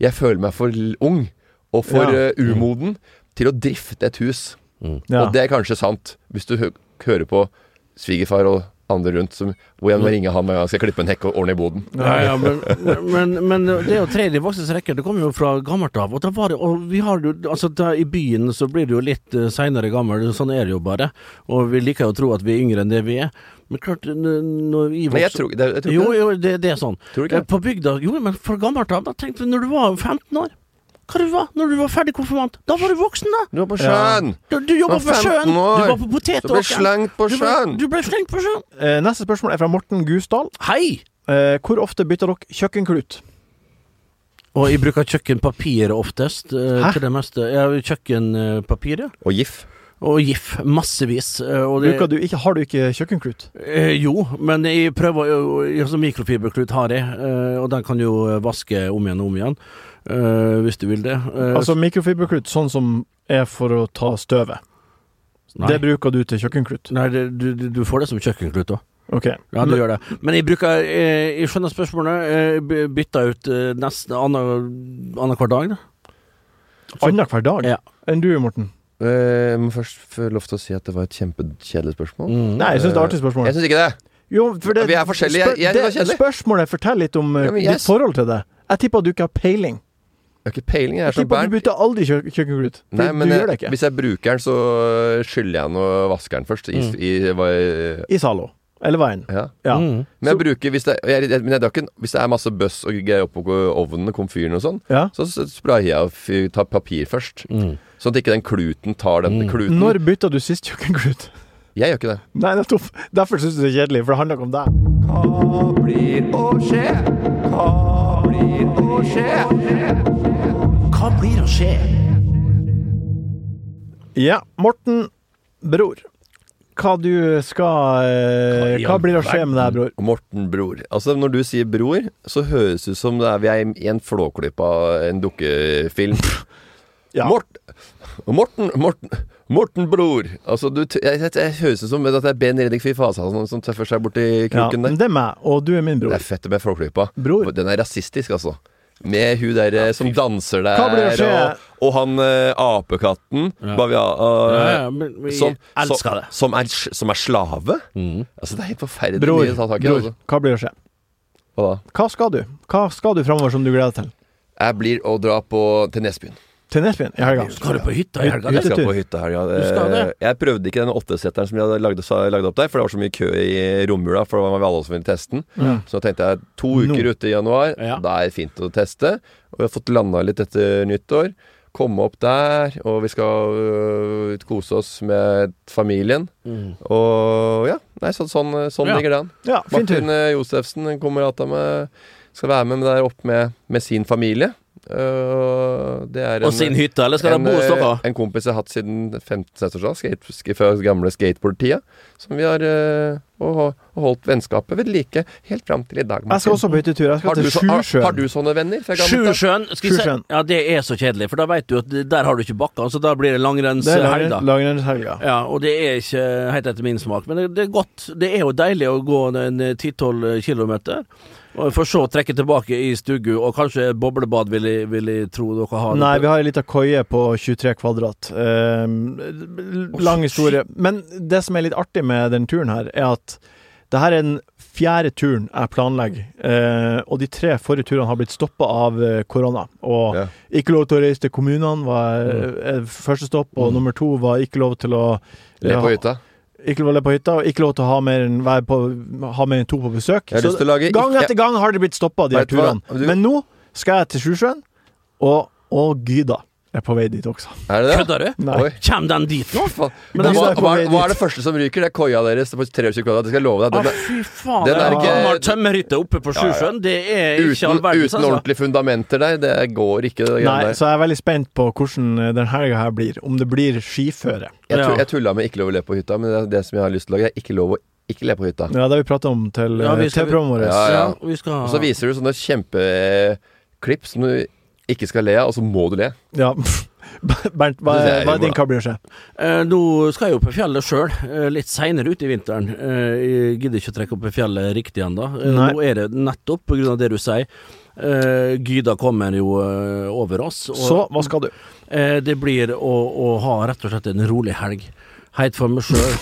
Speaker 3: Jeg føler meg for l- ung og for
Speaker 14: Ja.
Speaker 3: eh, umoden til å drifte et hus.
Speaker 14: Ja.
Speaker 3: Og det er kanskje sant, hvis du hø hører på svigerfar og andre rundt som, hvor jeg må ringe han når jeg skal klippe en hekk og ordne i boden.
Speaker 4: Ja, ja, men, men, men det er jo tredje voksnes rekke. Det kommer jo fra gammelt av. Og, da var det, og vi har jo, altså, da, I byen så blir du jo litt uh, seinere gammel, sånn er det jo bare. Og vi liker jo å tro at vi er yngre enn det vi er. Men klart n- når vi
Speaker 3: Nei, jeg
Speaker 4: vokser-
Speaker 3: tror- det- jeg tror ikke
Speaker 4: Jo,
Speaker 3: det.
Speaker 4: jo, det, det er sånn.
Speaker 3: Tror du ikke
Speaker 4: Eh, På bygda Jo, men fra gammelt av, da tenkte du når du var 15 år hva du var når du var ferdig konfirmant? Da var du voksen, da!
Speaker 3: Du var på sjøen.
Speaker 4: Du, du jobba
Speaker 3: Du
Speaker 4: på
Speaker 3: var 15
Speaker 4: sjøen! Du
Speaker 3: år.
Speaker 4: var på
Speaker 3: Så ble
Speaker 4: potetåkeren!
Speaker 3: slengt på
Speaker 4: Du ble-
Speaker 3: sjøen.
Speaker 4: Du ble slengt på sjøen!
Speaker 5: Eh, neste spørsmål er fra Morten Gusdal.
Speaker 4: Hei!
Speaker 5: Eh, hvor ofte bytter dere kjøkkenklut?
Speaker 4: Og jeg bruker kjøkkenpapir oftest. eh,
Speaker 5: Hæ?
Speaker 4: Til det meste. Jeg har jo kjøkkenpapir, ja.
Speaker 3: Og GIF.
Speaker 4: Og GIF. Massevis. eh, Og det,
Speaker 5: Bruker du ikke, har du ikke kjøkkenklut?
Speaker 4: Eh, jo, men jeg prøver jo altså Mikrofiberklut har jeg, eh, og den kan jo vaske om igjen og om igjen. eh, hvis du vil det. Eh,
Speaker 5: Altså mikrofiberklut, sånn som er for å ta støvet.
Speaker 4: Nei.
Speaker 5: Det bruker du til kjøkkenklut.
Speaker 4: Nei, det, du, du- du får det som kjøkkenklut òg.
Speaker 5: Ok.
Speaker 4: Ja, du gjør det. Men jeg bruker eh, Jeg skjønner spørsmålet. eh, Jeg by- bytter ut eh, nesten annen- annenhver dag, da.
Speaker 5: Annenhver dag enn du, Morten?
Speaker 3: Eh, må først få lov til å si at det var et kjempekjedelig spørsmål.
Speaker 4: Mm.
Speaker 5: Nei, jeg synes det er artig spørsmål.
Speaker 3: Eh, Jeg syns ikke det.
Speaker 5: Jo, for det,
Speaker 3: Vi er forskjellige. Jeg- jeg synes det er kjedelig.
Speaker 5: spørsmålet forteller litt om eh,
Speaker 3: Ja, men jeg
Speaker 5: ditt
Speaker 3: s-
Speaker 5: forhold til det. Jeg tipper at du ikke har peiling.
Speaker 3: Jeg har ikke peiling, jeg er
Speaker 5: Jeg
Speaker 3: som
Speaker 5: tipper at
Speaker 3: Bernt.
Speaker 5: du bytter aldri kjø kjøkkenklut. For
Speaker 3: Nei, men
Speaker 5: du
Speaker 3: jeg,
Speaker 5: gjør det ikke.
Speaker 3: hvis jeg bruker den, så eh, skyller jeg den og vasker den først. I,
Speaker 5: Mm.
Speaker 3: i, hva-
Speaker 5: I Zalo. Eller veien.
Speaker 3: Ja.
Speaker 5: Ja.
Speaker 3: Mm. Men jeg bruker, hvis det, jeg, jeg, men jeg, det er ikke, en- hvis det er masse bøss og greier oppå ovnen og komfyren og sånn, så s- sprayer jeg og fyr- tar papir først. Sånn at ikke den kluten tar den kluten.
Speaker 5: Når bytta du sist kjøkkenklut?
Speaker 3: Jeg gjør ikke det.
Speaker 5: Nei, nettopp. Derfor syns du det er kjedelig, for det handler ikke om deg.
Speaker 14: Hva blir å skje? Hva blir å skje?
Speaker 4: Hva blir å skje?
Speaker 5: Ja, Morten, bror. Hva du skal eh, Hva blir å skje med deg, bror?
Speaker 3: Morten, bror. Altså, når du sier bror, så høres det ut som det er vi er i en flåklype av en dukkefilm. Mort, Morten, Morten, Morten, bror. Altså, du, t- jeg, jeg, jeg høres ut som at det er Ben Reddik Fy Fasa som, som tøffer seg
Speaker 5: Ja,
Speaker 3: borti kroken
Speaker 5: men
Speaker 3: der.
Speaker 5: det er meg, og du er min
Speaker 3: Det
Speaker 5: bror.
Speaker 3: er fett med flåklypa.
Speaker 5: Bror.
Speaker 3: Den er rasistisk, altså. Med hun der eh, som danser der,
Speaker 5: Hva blir det å skje?
Speaker 3: og, og han eh, apekatten
Speaker 4: Ja.
Speaker 3: Bavia, eh,
Speaker 4: Ja, ja, men vi elsker det.
Speaker 3: Som, som, er, sl- som er slave?
Speaker 4: Mm.
Speaker 3: Altså, det er helt forferdelig
Speaker 5: Bror,
Speaker 3: mye å ta tak i.
Speaker 5: bror,
Speaker 3: Altså.
Speaker 5: hva blir å skje?
Speaker 3: Hva da?
Speaker 5: Hva skal du? Hva skal du framover som du gleder deg til?
Speaker 3: Jeg blir å dra på, til Nesbyen.
Speaker 5: Til Nesbyen i helga?
Speaker 4: Skal du på hytta i helga?
Speaker 3: Jeg skal
Speaker 5: Hyttetur.
Speaker 3: på hytta i helga.
Speaker 5: Du skal det?
Speaker 3: Jeg prøvde ikke den åtteseteren som jeg hadde lagd, sa- lagd opp der, for det var så mye kø i romjula. For det var alle som ville teste den.
Speaker 5: Mm.
Speaker 14: Ja.
Speaker 3: Så da tenkte jeg to uker ute i januar, da er det fint å teste. Og vi har fått landa litt etter nyttår. Komme opp der, og vi skal øh, kose oss med familien.
Speaker 14: Mm.
Speaker 3: Og ja, nei, så, sånn, sånn
Speaker 14: Ja.
Speaker 3: ligger det an.
Speaker 14: Ja, fin tur.
Speaker 3: Martin eh, Josefsen, en kamerat av meg, skal være med der oppe med, med sin familie. Øh, det er
Speaker 4: Og sin hytte, eller skal
Speaker 3: en,
Speaker 4: de bo hos
Speaker 3: eh,
Speaker 4: dere?
Speaker 3: En kompis jeg har hatt siden 15-16-årsdag, skate, sk- fra gamle skateboardtida, som vi har eh, og, og holdt vennskapet ved like helt fram til i dag.
Speaker 5: Jeg skal også på hyttetur. Jeg skal
Speaker 3: Har du
Speaker 5: til
Speaker 3: så- har-
Speaker 5: Sjusjøen.
Speaker 3: Har du sånne venner? fra gammelt av?
Speaker 4: Sjusjøen. Skal vi se.
Speaker 5: Sjusjøen.
Speaker 4: Ja, det er så kjedelig, for da veit du at der har du ikke bakka, så da blir
Speaker 5: Det
Speaker 4: det
Speaker 5: er lang-
Speaker 4: langrennshelg, da.
Speaker 5: langrennshelga.
Speaker 4: Ja, og det er ikke helt etter min smak, men det, det er godt. Det er jo deilig å gå en 10-12 kilometer, og for så å trekke tilbake i stugu, og kanskje boblebad vil jeg, vil jeg tro dere har.
Speaker 5: Nei, vi har ei lita koie på Ehm, 23 kvadrat. Eh, lang historie. Men det som er litt artig med den turen her, er at at det her er den fjerde turen jeg planlegger, eh, og de tre forrige turene har blitt stoppa av eh, korona. Og ikke lov til å reise til kommunene var
Speaker 3: Mm.
Speaker 5: eh, første stopp, og nummer to var ikke lov til å
Speaker 3: Le på hytta.
Speaker 5: Ikke lov til å le på hytta, og ikke lov til å ha mer enn, være på, ha mer enn to på besøk.
Speaker 3: Jeg har lyst til å lage-
Speaker 5: gang
Speaker 3: jeg-
Speaker 5: etter gang har det blitt stoppa, de her
Speaker 3: Vet du hva?
Speaker 5: turene. Men nå skal jeg til Sjusjøen, og, og Gyda er på vei dit også.
Speaker 3: Er det det?
Speaker 5: Kødder du? Nei.
Speaker 3: Oi.
Speaker 4: Kjem den dit nå?
Speaker 3: Hva,
Speaker 5: Men den
Speaker 3: hva,
Speaker 5: er på
Speaker 3: hva,
Speaker 5: vei dit.
Speaker 3: hva er det første som ryker? Det er koia deres på 23 kvadrat. Det skal jeg love deg.
Speaker 4: Å,
Speaker 3: Den er-
Speaker 4: Ah, fy
Speaker 3: den
Speaker 4: faen. Det
Speaker 3: er
Speaker 4: er
Speaker 3: ikke-
Speaker 4: gammel tømmerhytte oppe på
Speaker 3: Ja, ja.
Speaker 4: Sjusjøen. Det er ikke all
Speaker 3: uten,
Speaker 4: verdens. altså.
Speaker 3: uten ordentlige fundamenter der, det går ikke. Det greiene
Speaker 5: Nei,
Speaker 3: der.
Speaker 5: så jeg er veldig spent på hvordan eh, den helga her blir. Om det blir skiføre.
Speaker 3: Jeg, tu- jeg tulla med ikke lov å le på hytta, men det er det som jeg har lyst til å lage. Det er ikke lov å ikke le på hytta.
Speaker 5: Ja, det har vi prata om til
Speaker 3: Ja, vi
Speaker 5: eh,
Speaker 3: skal-
Speaker 5: TV-programmet vårt.
Speaker 3: Ja, ja.
Speaker 4: vi skal-
Speaker 3: Og så viser du sånne kjempeklipp som du ikke skal le av, og så må du le.
Speaker 5: Ja. Bernt, hva,
Speaker 3: Det er
Speaker 5: hva er din
Speaker 3: humor,
Speaker 5: kabriosje?
Speaker 4: Eh, nå skal jeg jo på fjellet sjøl, eh, litt seinere ute i vinteren. Eh, jeg gidder ikke å trekke opp i fjellet riktig ennå. Eh,
Speaker 5: Nei.
Speaker 4: nå er det nettopp på grunn av det du sier. Eh, Gyda kommer jo eh, over oss.
Speaker 5: Så, hva skal du?
Speaker 4: Eh, det blir å, å ha rett og slett en rolig helg. Heit for meg sjøl.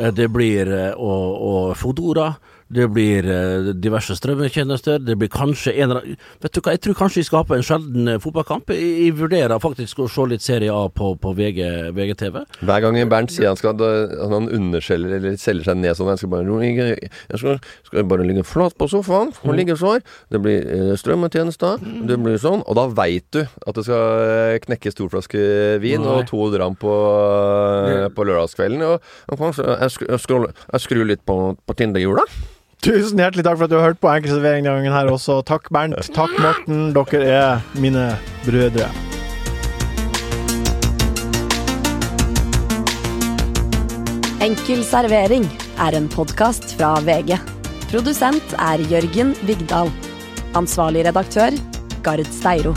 Speaker 4: Eh, det blir eh, å, å Fodora. Det blir eh, diverse strømmetjenester. Det blir kanskje en eller annen Vet du hva, jeg tror kanskje vi skal ha på en sjelden eh, fotballkamp. Jeg, jeg vurderer faktisk å se litt Serie A på, på VG, VGTV.
Speaker 3: Hver gang Bernt sier han skal at han underselger eller selger seg ned sånn Jeg skal bare ligge, jeg skal, skal bare ligge flat på sofaen og ligge sånn. Det blir eh, strømmetjenester, det blir sånn. Og da veit du at du skal eh, knekke storflaske vin
Speaker 4: Nei.
Speaker 3: og to dram på, eh, på lørdagskvelden. Og, og kanskje jeg, skru- jeg, skru- jeg skrur litt på, på Tinderhjula.
Speaker 5: Tusen hjertelig takk for at du har hørt på Enkeltservering denne gangen her også. Takk Bernt, takk Morten. Dere er mine brødre.
Speaker 1: Enkel servering er en podkast fra VG. Produsent er Jørgen Vigdal. Ansvarlig redaktør Gard Steiro.